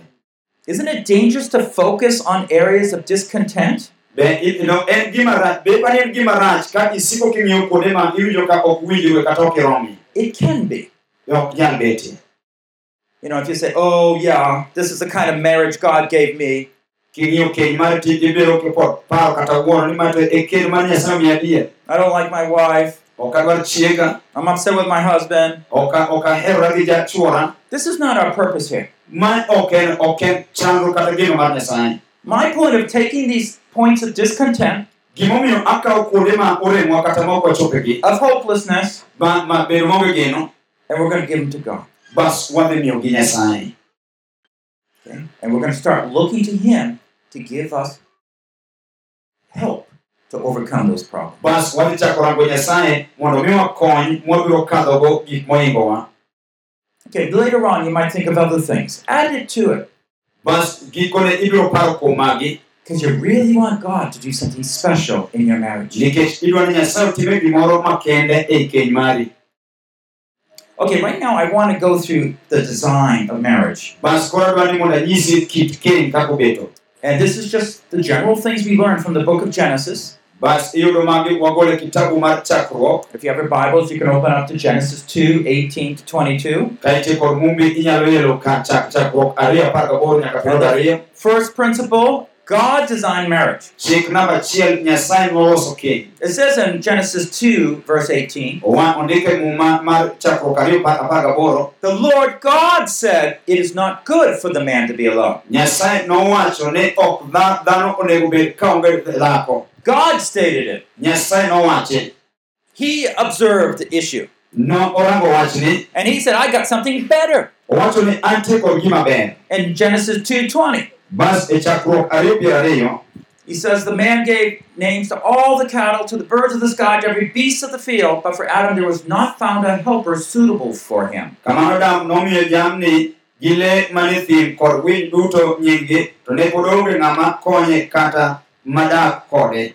S4: Isn't it dangerous to focus on areas of discontent?
S5: Be i- no, en gima rach, be mani en gima rach ka isiko king'iyo kuonde ma iwinjo ka ok winjre kata ok iromi.
S4: It can be.
S5: Ok nyal betie.
S4: You know, if you say, oh, yeah, this is the kind of marriage God gave me,
S5: King'iyo keny mar tij ibiro kipod paro kata wuoro ni ma to e keny mar Nyasaye omiya adier.
S4: I don't like my wife,
S5: Ok adwar chiega,
S4: I'm upset with my husband.
S5: ok a- ok aherora gi jachuora.
S4: This is not our purpose here.
S5: Ma ok en ok en chandro kata gino mar Nyasaye.
S4: My point of taking these points of discontent,
S5: Gimomiyo akawo kuonde ma oremwa kata ma ok wachopegi
S4: of hopelessness,
S5: ma ma bedo maonge geno,
S4: and we're going to give them to God.
S5: bas wadhi miyogi Nyasaye.
S4: Okay? And we're going to start looking to Him to give us help to overcome those problems.
S5: Bas wadhi chako rango Nyasaye mondo mi wakony mwabiro kadhogo gik moingowa.
S4: Okay, later on you might think of other things. Add it to it
S5: bas gikone ibiro paro kuom magi
S4: because you really want God to do something special in your marriage.
S5: nikech idwa ni nyasaye otime gimoro makende ei keny mari
S4: Okay, right now I want to go through the design of marriage.
S5: bas koro adwa ni mondo anyisi kit keny kaka obeto
S4: And this is just the general things we learned from the book of Genesis.
S5: bas iyudo magi wagolo e kitabu mar chakruok
S4: If you have your Bibles, you can open up to Genesis 2 18 to 22.
S5: kaite kod mumbi inyalo yelo ka chak chakruok ariyo apar gaboro nyaka piero ariyo
S4: First principle God designed marriage.
S5: chik namba achiel nyasaye noloso keny
S4: It says in Genesis 2, verse 18,
S5: Owa- ondike e muma mar chakruok ariyo pa- apar gaboro
S4: The Lord God said, It is not good for the man to be alone.
S5: nyasaye nowacho ni ok dha- dhano onego bed kaonge dhako
S4: God stated it.
S5: nyasaye nowache
S4: He observed the issue.
S5: no orango wachni
S4: And he said, I got something better.
S5: owacho ni antie kod gima ber
S4: In Genesis 2.20,
S5: bas e chakruok ariyo piero ariyo
S4: he says, The man gave names to all the cattle, to the birds of the sky, to every beast of the field, but for Adam there was not found a helper suitable for him.
S5: kamano dam nomiyo jamni gi le mane thim kod winy duto nyinggi to ne pod onge ng'ama konye kata madak kode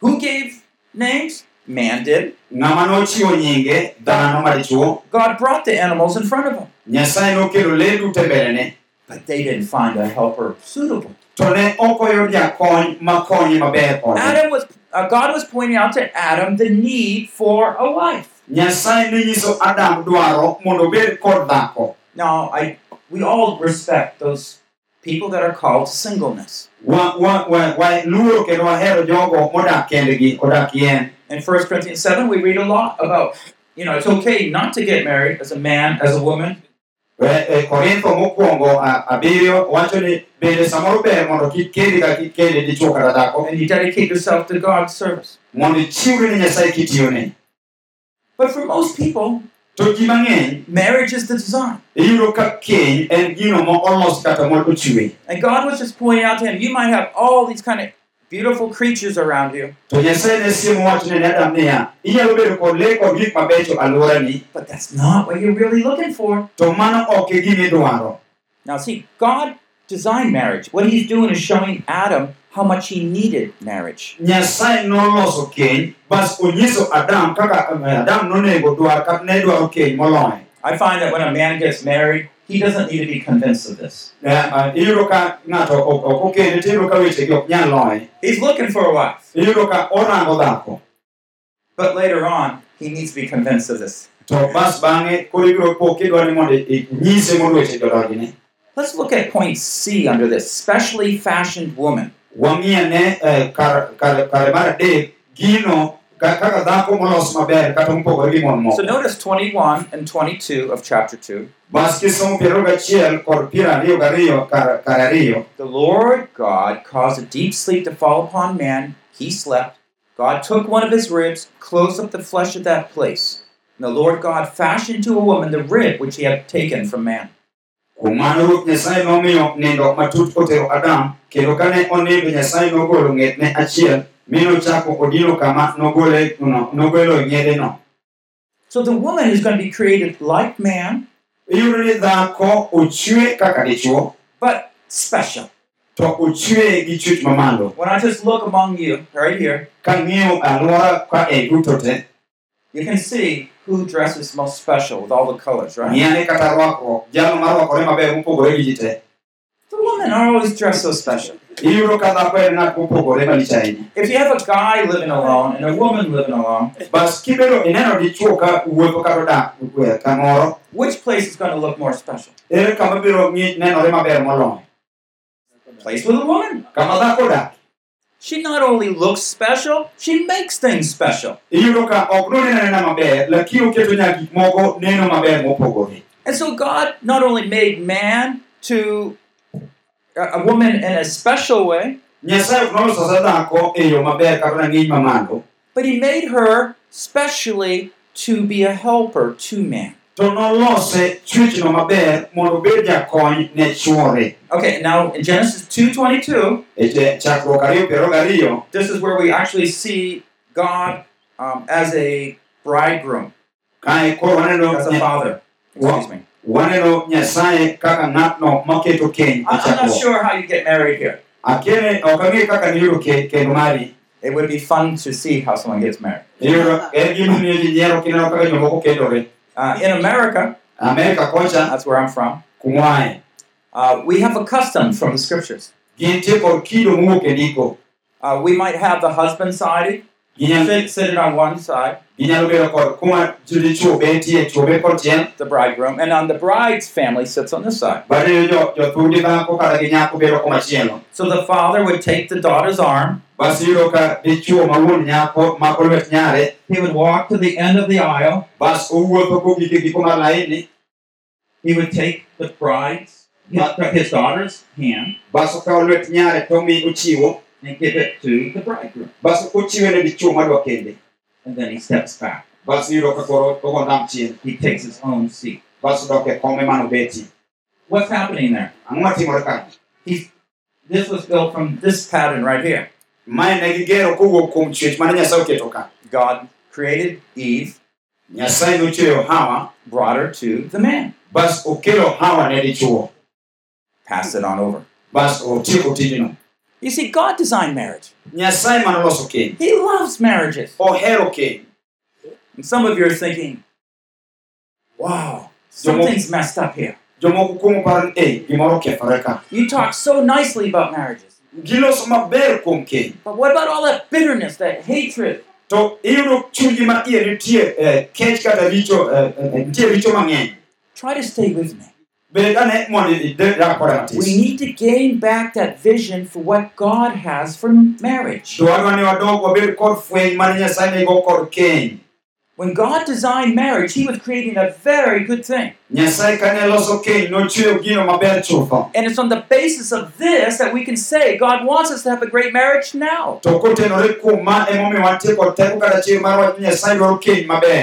S4: Who gave names? Man did.
S5: ng'ama nochiwo nyinge dhano madichuo
S4: God brought the animals in front of him,
S5: nyasaye nokelo le duto e mbelene
S4: but they didn't find a helper suitable.
S5: to ne ok oyud jakony makonye maber kode
S4: Adam was uh, God was pointing out to Adam the need for a wife.
S5: nyasaye nonyiso adam dwaro mondo obed kod dhako
S4: Now, I we all respect those people that are called to singleness.
S5: waluoro wa, wa, waluor kendo wahero jogo modak kendgi odak yien
S4: In 1 Corinthians 7, we read a lot about, you know, it's okay not to get married as a man, as a woman.
S5: E- e korintho mokwongo a- abiriyo wacho ni bende samoro ber mondo kik kendi ka kik kendi dichwo kata dhako
S4: and you dedicate yourself to God's service.
S5: mondo ichiwri ni nyasaye kitiyone
S4: But for most people,
S5: to ji mang'eny
S4: marriage is the design.
S5: iyudo ka keny en gino ma olos kata ma ochwe
S4: And God was just pointing out to him, you might have all these kind of beautiful creatures around you,
S5: to nyasaye ne siemo wacho ne adam niya inyalo bedo kod le kod gik mabecho alworani
S4: but that's not what you're really looking for.
S5: to mano ok e gimidwaro
S4: Now, see, God designed marriage. What he's doing is showing Adam how much he needed marriage.
S5: nyasaye noloso keny bas onyiso adam kaka eh, adam nonego dwar kata ne dwaro keny moloyo
S4: I find that when a man gets married, he doesn't need to be convinced of this.
S5: Eh, iyudo ka ng'ato ok oh, ok okende tiyudo ka wechegi ok nyal loye
S4: He's looking for a wife,
S5: iyudo ka orango dhako
S4: but later on, he needs to be convinced of this.
S5: to bas bang'e koro ibiro po kidwa ni mondo i- inyise mondo wechegi odonjne
S4: Let's look at point C under this specially fashioned woman.
S5: wang'iane eh, kar- kar- kare mar adek gino ka- kaka dhako molos maber kata mopogore gi mon
S4: So
S5: moko
S4: notice 21 and 22 of chapter 2.
S5: bas kisomo piero gachiel kod piero ariyo gariyo kar kar ariyo
S4: The Lord God caused a deep sleep to fall upon man. He slept. God took one of his ribs, closed up the flesh of that place. And the Lord God fashioned to a woman the rib which he had taken from man.
S5: kuom mano ruoth nyasaye nomiyo nindo matut otero adam kendo kane onindo nyasaye nogolo ng'etne achiel mi nochako odino kama nogole no- nogolo ng'edeno
S4: So the woman is going to be created like man,
S5: iyudo ni dhako ochwe kaka dichwo
S4: but special.
S5: to ochwe gi chwech mamalo
S4: When I just look among you right here,
S5: kang'iyo alwora ka e duto te
S4: you can see who dresses most special with all the colors, right?
S5: ng'iyane kata rwakruok jalo marwakore maber mopogore gi ji te
S4: The women are always dressed so special.
S5: iyudo ka dhako en ng'at mopogore malich ahinya
S4: If you have a guy living alone and a woman living alone,
S5: bas kibedo ineno dichwo ka wuotho kata odak e kamoro
S4: which place is going to look more special?
S5: ere kama biro ng'i- nenore maber moloyo
S4: Place with a woman.
S5: kama dhako odak
S4: She not only looks special, she makes things special.
S5: iyudo ka ok noneno anena maber lakini oketo nyaka gik moko neno maber mopogore
S4: And so God not only made man to a a woman in a special way,
S5: nyasaye ok noloso sa dhako e yo maber kata rang'iny mamalo
S4: but he made her specially to be a helper to man.
S5: to nolose chwechno maber mondo obed jakony ne chwore
S4: Okay, now in Genesis 2:22,
S5: e te- chakruok ariyo piero gariyo
S4: this is where we actually see God um, as a bridegroom,
S5: kae koro waneno
S4: as a
S5: nya-
S4: father. Excuse me.
S5: waneno nyasaye kaka ng'atno maketo keny e
S4: I- I'm not
S5: chakruok
S4: sure how you get married here.
S5: akene ok ang'e kaka niyudo ke- kendo mari
S4: It would be fun to see how someone gets married.
S5: iyudo en gima miyo ji nyiero kineno kaka jomoko kendore
S4: Uh, in America,
S5: amerika kocha
S4: that's where I'm from,
S5: kumae
S4: uh, we have a custom from the scriptures.
S5: gintie kod kido mowuok e ndiko
S4: Uh, we might have the husband sided,
S5: Ginyal-
S4: sit, seated on one side,
S5: ginyalo bedo kod kuma dichwo betie chwo bet kod tiel
S4: the bridegroom, and on the bride's family sits on this side.
S5: bang'e jo- jothudi dhako kata gi nyako bedo komachielo
S4: So the father would take the daughter's arm,
S5: bas iyudo ka dichuo ma wuon nyako mako lwet nyare
S4: he would walk to the end of the aisle,
S5: bas owuotho kogik e giko mar laini
S4: he would take the bride's, his, his daughter's hand,
S5: bas okawo lwet nyare tomi ochiwo
S4: and give it to the bridegroom.
S5: bas ochiwe ne dichuo madwa kende
S4: And then he steps back.
S5: bas iyudo ka koro ogo ndam chien
S4: He takes his own seat.
S5: bas odok e kome manobeti
S4: What's happening there?
S5: ang'o matimore ka
S4: This was built from this pattern right here.
S5: mae ne gigero kowuok kuom chwech mane nyasaye oketo ka
S4: God created Eve,
S5: nyasaye nochweyo hawa
S4: brought her to the man.
S5: bas okelo hawa ne dichuo
S4: Pass it on over.
S5: bas otieko tijno
S4: You see, God designed marriage.
S5: nyasaye manoloso keny
S4: He loves marriages.
S5: ohero keny
S4: And some of you are thinking, wow, something's messed up here.
S5: jomoko kuomo paro ni "Eh, gimoro okethore ka
S4: You talk so nicely about marriages.
S5: giloso maber kuom keny
S4: But what about all that bitterness, that hatred?
S5: to iyudo chunygi ma iye nitie eh, kech kata richo eh, eh, nitie richo mang'eny
S4: Try to stay with me.
S5: bende dane mondo idak koda
S4: We
S5: matis
S4: need to gain back that vision for what God has for marriage.
S5: to wadwa ni wadog wabed kod fweny mane nyasaye nigo kod keny
S4: When God designed marriage, He was creating a very good thing.
S5: nyasaye kane loso keny nochweyo gino maber chutho
S4: And it's on the basis of this that we can say God wants us to have a great marriage now.
S5: to kotenore kuom ma emomiyo wantie kod teko kata chir mar wach ni nyasaye dwaro keny maber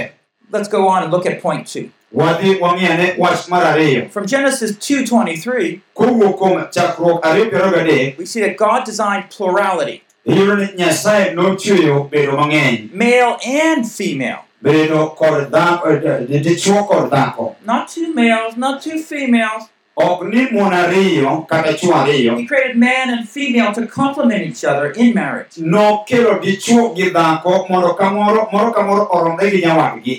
S4: Let's go on and look at point two.
S5: wadhi wang'iane wach mar ariyo
S4: From Genesis 2.23,
S5: kowuok kuom chakruok ariyo piero ariyo gadek
S4: we see that God designed plurality,
S5: iyudo ni nyasaye nochweyo bedo mang'eny
S4: male and female.
S5: bedo kod dhako eh, dichwo kod dhako
S4: Not two males, not two females.
S5: ok ni mon ariyo kata chwo ariyo
S4: He created man and female to complement each other in marriage.
S5: nokelo dichwo gi dhako mondo kamoro moro ka moro oromre gi nyawadgi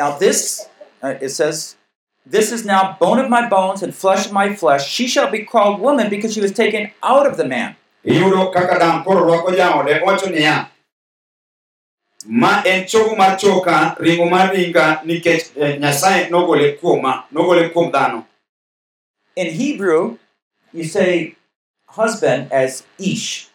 S4: Now, this, uh, it says, this is now bone of my bones and flesh of my flesh. She shall be called woman because she was taken out of the man.
S5: iyudo kaka dang' koro rwako jaode wacho niya ma en chogo mar choka ringo mar ringa nikech eh, nyasaye nogole kuoma nogole kuom dhano
S4: In Hebrew, you say husband as ish.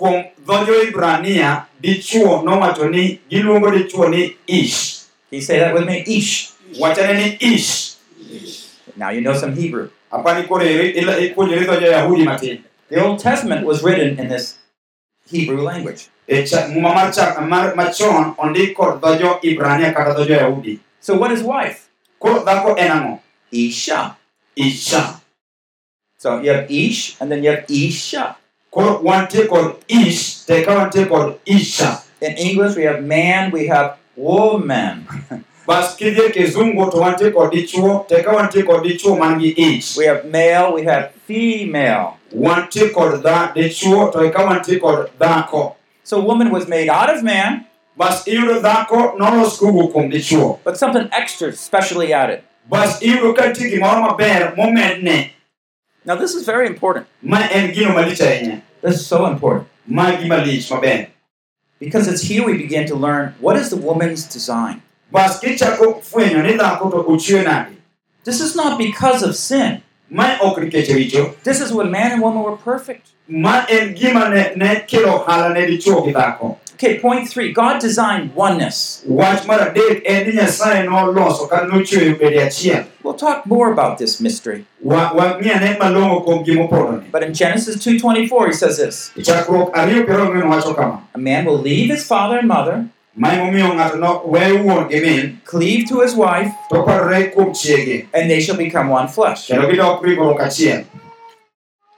S5: kuom dho jo-ibrania dichwo nowacho ni giluongo dichwo ni ish
S4: Can you say that with me? Ish.
S5: wachane ni ish
S4: Now you know some Hebrew.
S5: apani koro iri- ila- ipuonjori dho jo-yahudi matin
S4: The Old Testament was written in this Hebrew language.
S5: e cha- muma mar cha- mar- machon ondik kod dho jo-ibrania kata dho jo-yahudi
S4: So what is wife?
S5: koro dhako en ang'o
S4: Isha.
S5: isha
S4: So you have ish and then you have isha.
S5: koro wantie kod ish teka wantie kod isha
S4: In English, we have man, we have woman.
S5: bas kidhi e kizungu to wantie kod dichwo teka wantie kod dichwo man gi ich
S4: We have male, we have female.
S5: wantie kod dha dichwo to eka wantie kod dhako
S4: So woman was made out of man,
S5: bas iyudo dhako nolos kowuok kuom dichwo
S4: but something extra specially added.
S5: bas iyudo ka nitie gimoro maber momedne
S4: Now this is very important.
S5: ma en gino malich ahinya
S4: This is so important
S5: ma gima lich maber
S4: because it's here we begin to learn what is the woman's design.
S5: bas kichako fwenyo ni dhako to ochwe nade
S4: This is not because of sin.
S5: ma ok nikech richo
S4: This is when man and woman were perfect.
S5: ma en gima ne, ne kelo ohala ne dichwo gi dhako
S4: Okay, point three. God designed oneness.
S5: wach mar adek en eh, ni nyasaye noloso ka nochweyo bede achiel
S4: We'll talk more about this mystery.
S5: Wa- wang'iane malong'o kuom gimopodoni
S4: But in Genesis 2.24, he says this.
S5: chakruok ariyo piero ang'wen wacho kama
S4: A man will leave his father and mother,
S5: ma emomiyo ng'ato no weyo wuon gi min
S4: cleave to his wife,
S5: to parore kuom chiege
S4: and they shall become one flesh.
S5: kendo gidok ringruok achiel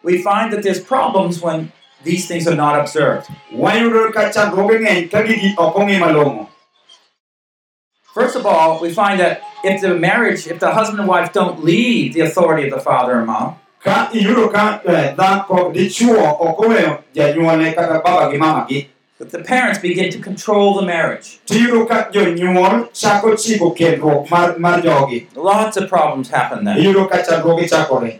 S4: we find that there's problems when these things are not observed.
S5: wayudo ka chandruoge ng'eny ka gigi ok ong'i malong'o
S4: First of all, we find that if the marriage, if the husband and wife don't leave the authority of the father and mom,
S5: ka iyudo ka eh, dhako dichwo ok oweyo janyuolne kata baba gi mamagi
S4: that the parents begin to control the marriage.
S5: tiyudo ka jonyuol chako chiko kendruok mar, mar jogi
S4: Lots of problems happen then.
S5: iyudo ka chandruoge chakore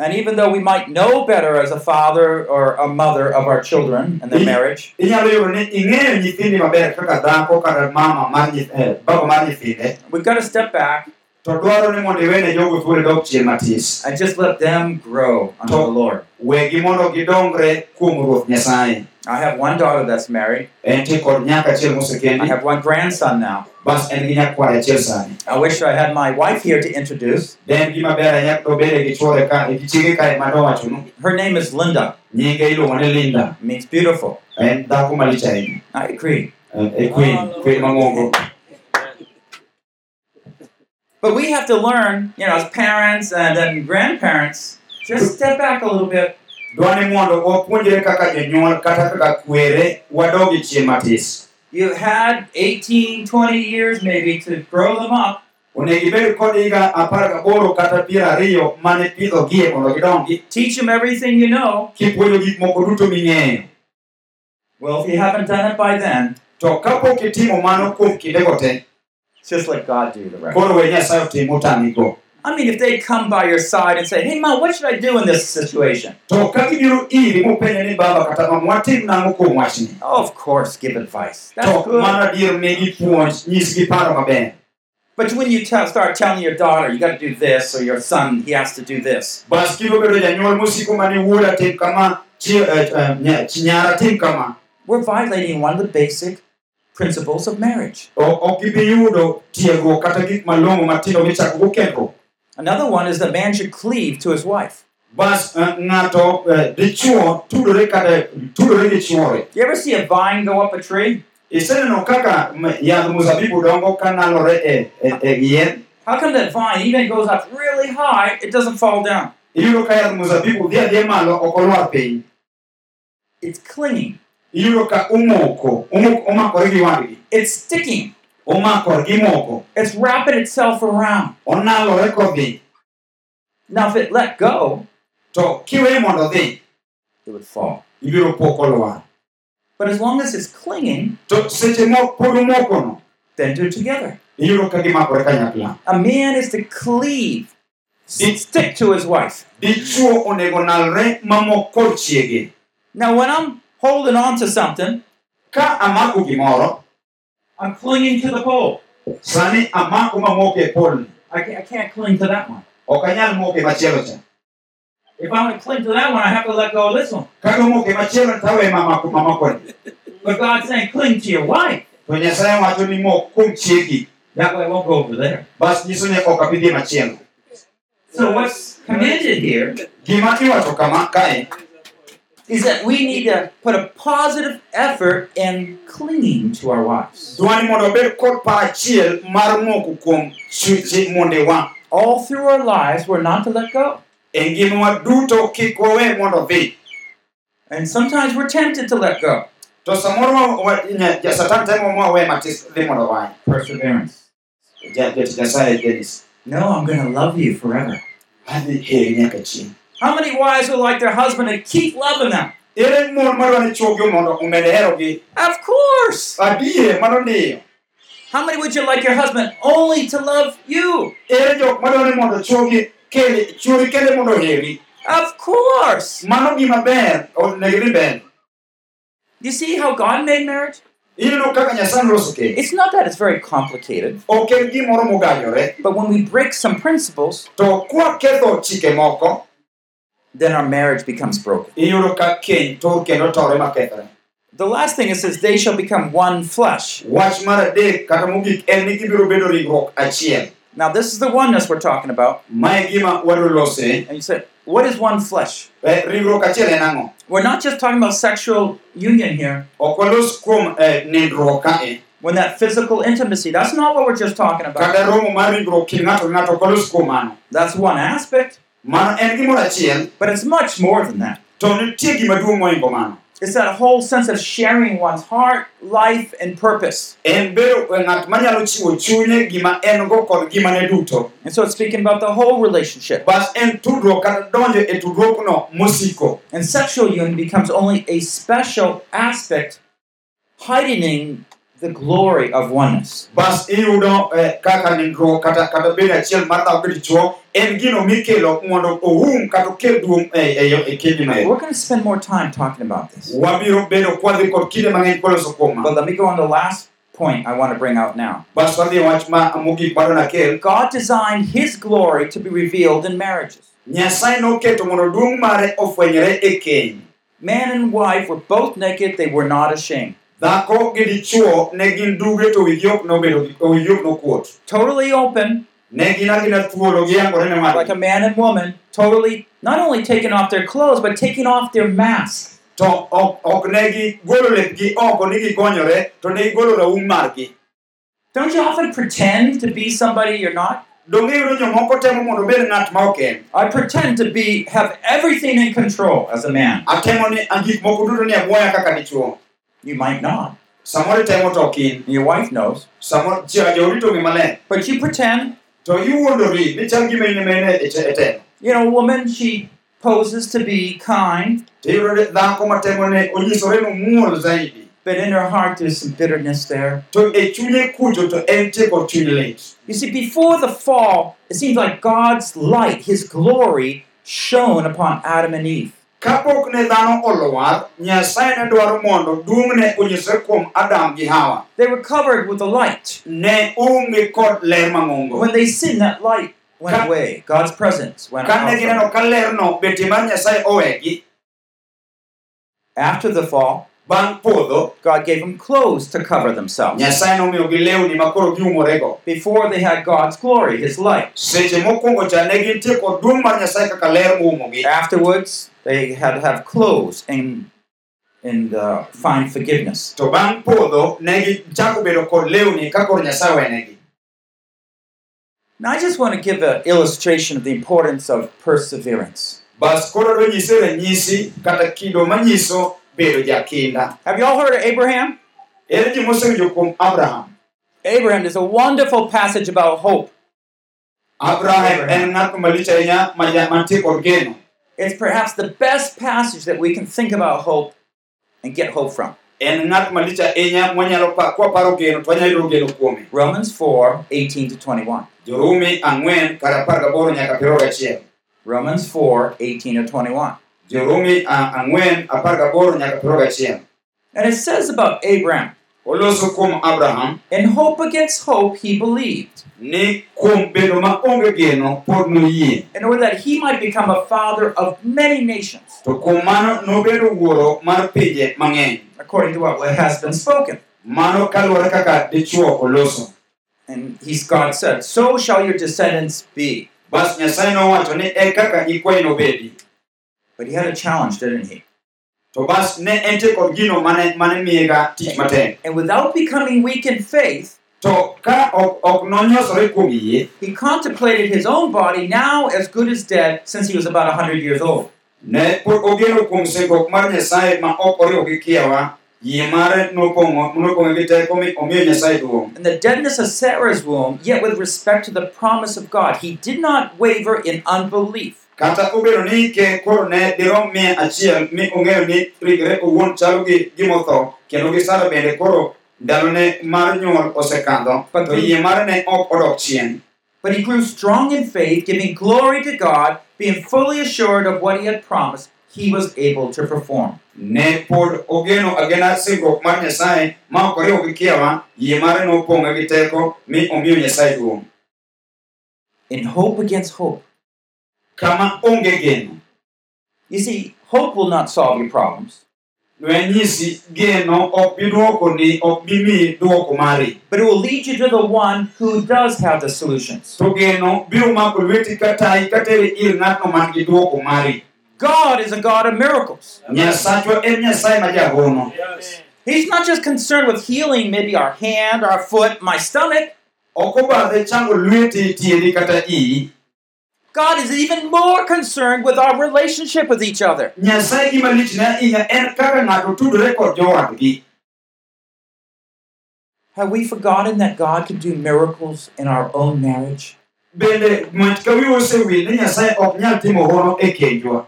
S4: And even though we might know better as a father or a mother of our children and their
S5: Yeah.
S4: marriage,
S5: inyalo yudo ni ing'eyo nyithindi maber kaka dhako kata mama mar nyi- eh, baba mar nyithinde
S4: we've got to step back
S5: to dwaro ni mondo iwene jogo thuolo dok chien matis
S4: and just let them grow unto the
S5: Oh.
S4: Lord.
S5: wegi mondo gidongre kuom ruoth nyasaye
S4: I have one daughter that's married.
S5: entie kod nyaka achiel
S4: I
S5: mosekendi
S4: have one grandson now.
S5: bas en gi nyakware achiel sani
S4: I wish I had my wife here to introduce.
S5: de en gimaber ahinya dobede gi chwore ka gi chiege kae madowachonu
S4: Her name is Linda.
S5: nyinge iluongo ni linda
S4: It means beautiful.
S5: en dhako malich ahinya
S4: I agree.
S5: Eh, e queen queen mang'ongo
S4: But we have to learn, you know, as parents and then grandparents, just step back a little bit
S5: dwani mondo wapuonjre kaka jonyuol kata kaka kwere wadogi chien matis
S4: You've had 18, 20 years maybe to grow them up,
S5: onego ibed kod higa apar gaboro kata piero ariyo mane pidhogie mondo gidongi
S4: teach them everything you know.
S5: kipuonjo gik moko duto ming'eyo
S4: Well, if you haven't done it by then,
S5: to kapok itimo mano kuom kindego te
S4: just let God do the rest.
S5: koro we nyasaye otim otamigo
S4: I mean, if they come by your side and say, hey, Mom, what should I do in this situation?
S5: to ka gibiro iri mopenjo ni baba kata mama watim nang'o kuom wachni
S4: Oh, of course, give advice.
S5: to
S4: That's good.
S5: mano adier migi puonj nyisgi paro maber
S4: But when you tell start telling your daughter, you got to do this, or your son, he has to do this,
S5: bas kibiro bedo janyuol mosiko mane wuoda tim kama chi- eh, eh, nya- chi- nyara tim kama
S4: we're violating one of the basic principles of marriage.
S5: O- ok ibi yudo tiegruok kata gik malong'o matindo michakogo kendruok
S4: Another one is that man should cleave to his wife.
S5: bas eh, ng'ato eh, dichuo tudore kata tudore gi chuore
S4: You ever see a vine go up a tree?
S5: iseneno kaka m- yadh mzabibu dongo kanalore e, e, e yien
S4: How come that vine even goes up really high, it doesn't fall down?
S5: iyudo ka yadh mzabibu dhi adhiya malo ok olwar piny
S4: It's clinging,
S5: iyudo ka omoko omok- omakore gi wadgi
S4: it's sticking,
S5: omakore gi moko
S4: it's wrapping itself around.
S5: onalore kodhi
S4: Now, if it let go,
S5: to kiweye mondo odhi
S4: it would fall.
S5: ibiro po kolwar
S4: But as long as it's clinging,
S5: to seche mo pod omokono
S4: then they're together.
S5: iyudo ka gimakore kanyakla
S4: A man is to cleave, s- stick to his wife.
S5: dichuo onego nalre mamoko kod chiege
S4: Now, when I'm holding on to something,
S5: ka amako gimoro
S4: I'm clinging to the pole.
S5: sani amako mamoko e polni
S4: I can't, I can't cling to that one.
S5: ok anyal moke machielo cha
S4: If I want to cling to that one, I have to let go of this one.
S5: kago moke machielo tawe mamako mamakoni
S4: But God's saying, cling to your wife.
S5: to nyasaye wacho ni mok kuom chiegi
S4: That way I won't go over there.
S5: bas nyiso ni ok abidhi machielo
S4: So what's commanded here
S5: gima iwacho kama kae
S4: is that we need to put a positive effort in clinging to our wives.
S5: dwani mondo wabed kod par achiel mar moko kuom chweche mondewa
S4: All through our lives, we're not to let go.
S5: e ngimawa duto kik wawe mondo dhi
S4: And sometimes we're tempted to let go.
S5: to samoro wa- wa- nya- ja- satan temo mwawe matis dhi mondo wae
S4: Perseverance.
S5: Ja- jatich nyasaye denis
S4: No, I'm going to love you forever.
S5: adhi heri nyaka chieng'
S4: How many wives are like their husband and keep loving them?
S5: ere mon madwani chuogi mondo omed herogi
S4: Of course.
S5: adier mano ndiyo
S4: How many would you like your husband only to love you?
S5: ere jok madwani mondo chuogi kele chuori kende mondo oheri
S4: Of course.
S5: mano gima ber onego ni ber
S4: You see how God made marriage?
S5: ineno kaka nyasaye noloso keny
S4: It's not that it's very complicated,
S5: ok en gimoro mogayore
S4: but when we break some principles,
S5: to kwaketho chike moko
S4: then our marriage becomes broken.
S5: iyudo ka keny tor kendo tore makethore
S4: The last thing it says, they shall become one flesh.
S5: wach mar adek kata mogik en ni gibiro bedo ringruok achiel
S4: Now, this is the oneness we're talking about.
S5: mae e gima wadwa lose
S4: And you said, what is one flesh?
S5: Eh, ringruok achiel en ang'o
S4: We're not just talking about sexual union here.
S5: ok walos kuom eh, nindruok kae
S4: When that physical intimacy, that's not what we're just talking about.
S5: kata romo mar ringruok kind ng'ato gi ng'ato ok walos kuom mano
S4: That's one aspect,
S5: mano en gimoro achiel
S4: but it's much more than that.
S5: to nitie gima duong' moingo mano
S4: It's that whole sense of sharing one's heart, life, and purpose.
S5: en bedo e ng'at manyalo chiwo chunye gima en go kod gimane duto
S4: And so it's speaking about the whole relationship.
S5: bas en tudruok kata donjo e tudruokno mosiko
S4: And sexual union becomes only a special aspect heightening the glory of oneness.
S5: bas iyudo eh, kaka nindruok kata kata bedo achiel mar dhako gi dichuo en gino mikelo mondo oum kata okel duong' e, e, e kenyno ero
S4: We're going to spend more time talking about this.
S5: wabiro bedo kwadhi kod kinde mang'eny koloso kuom
S4: But
S5: mano
S4: let me go on the last point I want to bring out now.
S5: bas wadhi e wach ma mogik mano nakel
S4: God designed his glory to be revealed in marriages.
S5: nyasaye noketo mondo duong' mare ofwenyre e keny
S4: Man and wife were both naked, they were not ashamed.
S5: dhako gi dichuo ne gin duge to wigi ok nobedo gi- to wigi ok nokuot
S4: Totally open,
S5: ne gin agina thuolo giyangore ne
S4: like a
S5: wadgi
S4: man and woman, totally not only taking off their clothes, but taking off their mask.
S5: to ok, ok ne gigolo lepgi oko ni gikonyore to ne gigolo raum margi
S4: Don't you often pretend to be somebody you're not?
S5: donge iyudo jomoko temo mondo obed ng'at ma ok en
S4: I pretend to be have everything in control as a man.
S5: atemo ni an gik moko duto ni abuoya kaka dichuo
S4: You might not.
S5: samoro itemo to ok in
S4: Your wife knows.
S5: samoro chia joodi to ng'i maler
S4: But you pretend,
S5: to iwuondori ni chal gima in ema in e te- e temo
S4: you know, a woman, she poses to be kind,
S5: tiyudo ni dhako matemo ne onyisore nomuol zaidi
S4: but in her heart there's some bitterness there.
S5: to e chunye kucho to entie kod chuny lit
S4: You see, before the fall, it seems like God's light, his glory, shone upon Adam and Eve.
S5: kapok ne dhano olwar nyasaye ne dwaro mondo duong'ne onyisre kuom adam gi hawa
S4: They were covered with the light.
S5: ne onge kod ler mang'ongo
S4: When they sinned, that light went away. God's presence went
S5: kane
S4: away.
S5: gineno ka lerno betie mar nyasaye owegi
S4: After the fall,
S5: bang' podho
S4: God gave them clothes to cover themselves.
S5: nyasaye nomiyogi lewni makoro giumorego
S4: Before they had God's glory, His light.
S5: seche mokwongo cha ne gintie kod duong' mar nyasaye kaka ler moumogi
S4: Afterwards, they had to have clothes and and uh, find forgiveness.
S5: to bang' podho ne gichako bedo kod lewni ka koro nyasaye wenegi
S4: Now, I just want to give an illustration of the importance of perseverance.
S5: bas koro adwa nyise ranyisi kata kido manyiso bedo jakinda
S4: Have you all heard of Abraham?
S5: ere ji mosewinjo kuom abraham
S4: Abraham is a wonderful passage about hope.
S5: abraham en ng'at malich ahinya ma ja- mantie kod geno
S4: It's perhaps the best passage that we can think about hope and get hope from.
S5: en ng'at malich ahinya mwanyalo pa- kwaparo geno to wanyalo yudo geno kuome
S4: Romans 4 18 to 21.
S5: jorumi ang'wen kar apar gaboro nyaka piero gachiel
S4: Romans 4 18 to 21.
S5: jorumi a- ang'wen apar gaboro nyaka piero gachiel
S4: And it says about Abraham,
S5: oloso kuom abraham
S4: in hope against hope, he believed,
S5: ni kuom bedo maonge geno pod noyie
S4: in order that he might become a father of many nations,
S5: to kuom mano nobedo wuoro mar pinje mang'eny
S4: according to what has been spoken.
S5: mano kaluwore kaka dichuo oloso
S4: And he's God said, So shall your descendants be.
S5: bas nyasaye nowacho ni e kaka nyikwayi nobedi
S4: But he had a challenge, didn't he?
S5: to bas ne entie kod gino mane, mane miyega tich matek
S4: And without becoming weak in faith,
S5: to ka ok, ok nonyosore kuom yie
S4: he contemplated his own body now as good as dead since he was about 100 years old.
S5: ne pod ogeno kuom singruok mar nyasaye ma ok oriwo gi kiewa yie mare nopong'o- nopong'e gi teko mi omiyo nyasaye duong'
S4: In the deadness of Sarah's womb, yet with respect to the promise of God, he did not waver in unbelief.
S5: kata obedo ni ke koro ne dirom mia achiel mi ong'eyo ni rigre owuon chalo gi gimotho kendo gi sara bende koro ndalone mar nyuol osekadho
S4: But
S5: to
S4: the-
S5: yie mare ne ok odok chien
S4: But he grew strong in faith, giving glory to God, being fully assured of what he had promised, he was able to perform.
S5: ne pod ogeno agena singruok mar nyasaye ma ok oriwo gi kiewa yie mare nopong'e gi teko mi omiyo nyasaye duong'
S4: In hope against hope.
S5: kama onge geno
S4: You see, hope will not solve your problems,
S5: wenyisi geno ok bi dwokoni ok bi miyi dwoko mari
S4: but it will lead you to the one who does have the solutions.
S5: to geno biro mako lweti ka tayi ka teri ir ng'atno man gi dwoko mari
S4: God is a God of miracles.
S5: nyasachwa en nyasaye ma jahono
S4: He's not just concerned with healing maybe our hand, our foot, my stomach.
S5: ok obadhe chango lweti tiendi kata iyi
S4: God is even more concerned with our relationship with each other.
S5: nyasaye gima lichne ahinya en kaka ng'ato tudore kod jowadgi
S4: Have we forgotten that God can do miracles in our own marriage?
S5: Bende mach ka wiwa osewil ni Nyasaye ok nyal timo hono e kendwa.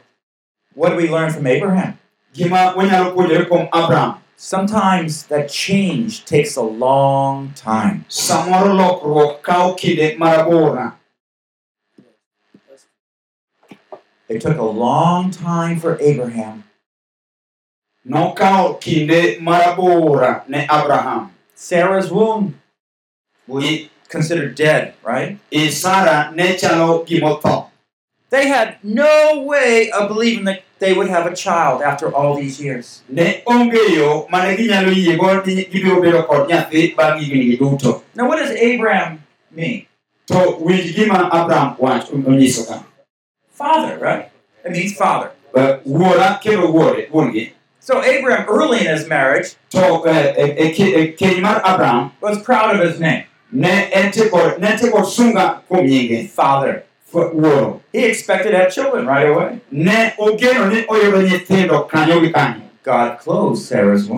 S4: What do we learn from Abraham?
S5: Gima wanyalo puonjore kuom Abraham,
S4: Sometimes that change takes a long time.
S5: samoro lokruok kawo kinde marabora.
S4: It took a long time for Abraham,
S5: Nokawo kinde marabora ne Abraham.
S4: Sarah's womb was
S5: I,
S4: considered dead, right?
S5: I Sara ne chalo gimotho.
S4: They had no way of believing that they would have a child after all these years.
S5: Ne onge yo mane ginyalo yiego ni gibiro bedo kod nyathi bang' hignigi duto.
S4: Now, what does Abraham mean?
S5: To winj gima Abraham wacho onyiso ka.
S4: Father, right? It means father.
S5: Eh, Wuora kendo wuore, wuongi.
S4: So, Abraham, early in his marriage,
S5: To eh, eh, eh, ke- eh, keny mar Abraham
S4: was proud of his name,
S5: ne entie kod ne entie kod sunga kuom nyinge
S4: Father.
S5: F- wuoro
S4: He expected to have children right away.
S5: ne ogeno ni oyudo nyithindo kanyo gi kanyo
S4: God closed Sarah's womb.